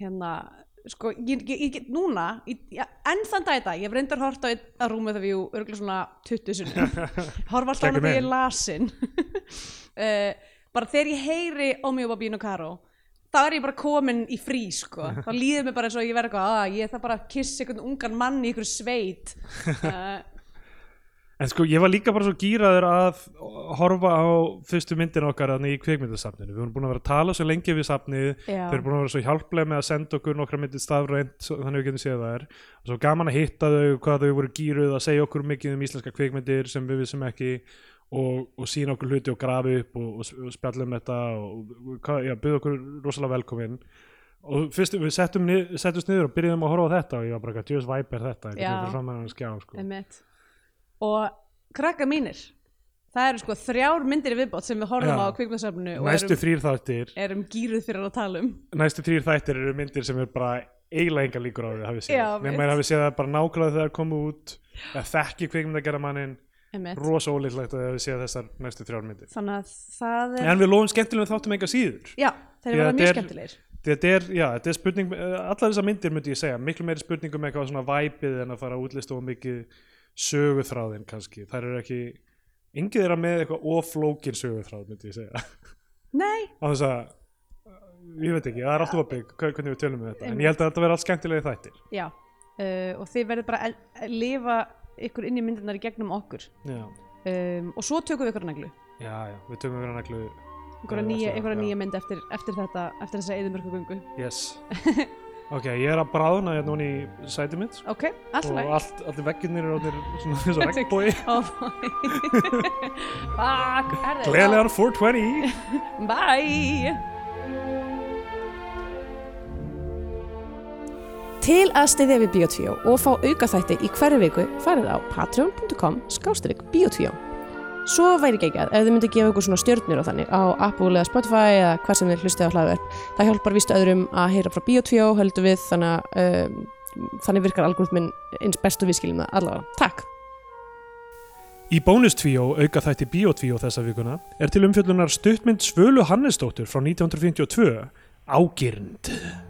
B: hérna sko, ég, ég, ég get núna ég, ég, enn þann dag í dag, ég hef reyndar hort á einn að rúmið það við örgulega svona 20 sinni horfa alltaf á
C: Kekkum
B: hana þegar
C: inn.
B: ég er lasin uh, bara þegar ég heyri Omi og Bobino Caro þá er ég bara komin í frí sko þá líður mér bara eins og ég verði eitthvað að ég það bara að kissa einhvern ungan mann í einhverju sveit uh,
C: En sko, ég var líka bara svo gýraður að horfa á fyrstu myndin okkar þannig í kvikmyndasafninu. Við vorum búin að vera að tala svo lengi við safnið,
B: Já.
C: þeir eru búin að vera svo hjálplega með að senda okkur nokkra myndir stafrænt svo- þannig við getum séð það er. Og svo gaman að hitta þau, hvað þau voru gýruð að segja okkur mikið um íslenska kvikmyndir sem við vissum ekki og, og sína okkur hluti og grafi upp og, og, og spjalla um þetta og, og hvað, já, byggðu okkur rosalega velkomin. Og fyrst við settum, nið- settumst niður og byrjuðum að horfa á þetta og ég var bara, djöðs væper þetta, einhvern
B: Já.
C: veginn fyrir framan þennan skjá, sko.
B: einmitt. og krakka mínir það eru sko þrjár myndir í viðbót sem við horfum
C: Já.
B: á kvikmyndsöfnu og
C: Næstu
B: erum,
C: þrýr þáttir
B: erum gýruð um fyrir að tala um
C: næstu þrýr þættir eru myndir sem er bara eiginlega enga líkur á því að hafi séð
B: Já,
C: nema
B: mitt.
C: maður hafi séð það bara nákvæmlega þegar það komu út eða þekki kvikmynd að gera mannin
B: einmitt.
C: rosa ólíklegt að það hafi séð þessar næstu þrjár myndir
B: þannig að það er
C: en við lofum skemmtilegum þáttum enga síður
B: já,
C: Því
B: þeir eru
C: að
B: verið
C: þetta
B: mjög
C: er-
B: skemmtilegir
C: þetta er, já, þetta er spurning eh, allar þessar myndir myndi ég segja, miklu meiri spurning um eitthvað svona væpið en að fara að útlista og mikið söguþráðin kannski þær eru ekki, engið þeirra með eitthvað oflókin söguþráð myndi ég segja
B: nei,
C: á þess að ég veit ekki, það er alltaf opið hver- hvernig við tölum við þetta en ég held að þetta verði allt skemmtilegi þættir
B: já uh, og þið verður bara að- að lifa ykkur inn í myndirnar í gegnum okkur
C: já,
B: um, og svo tökum við ykkur neglu
C: já, já, við tölum við hann ekki
B: ykkur
C: Já,
B: nýja,
C: já,
B: ykkur
C: já.
B: nýja mynd eftir, eftir þetta eftir þessa eðumörkugöngu
C: yes ok, ég er að bráðna hérna núna í sæti mitt sko,
B: ok, allt
C: og
B: læg
C: allt, allir veggirnir eru orðnir svona eins og regnbói
B: Fuck, herðu,
C: gleðilegar 420
B: Bye
D: Til að styðja við Bíotvíó og fá aukaþætti í hverju viku farið á patreon.com skástrík Bíotvíó. Svo væri geggjað ef þið myndi gefa ykkur svona stjörnir og þannig á Apple eða Spotify eða hvað sem þið hlustið á hlaðverk. Það hjálpar víst öðrum að heyra frá Bíotvíó, höldum við, þannig, að, um, þannig virkar algoritminn eins best og við skiljum það allavega. Takk!
C: Í bónustvíó, auka þætti Bíotvíó þessa vikuna, er til umfjöllunar stuttmynd Svölu Hannesdóttur frá 1952, Ágirnd.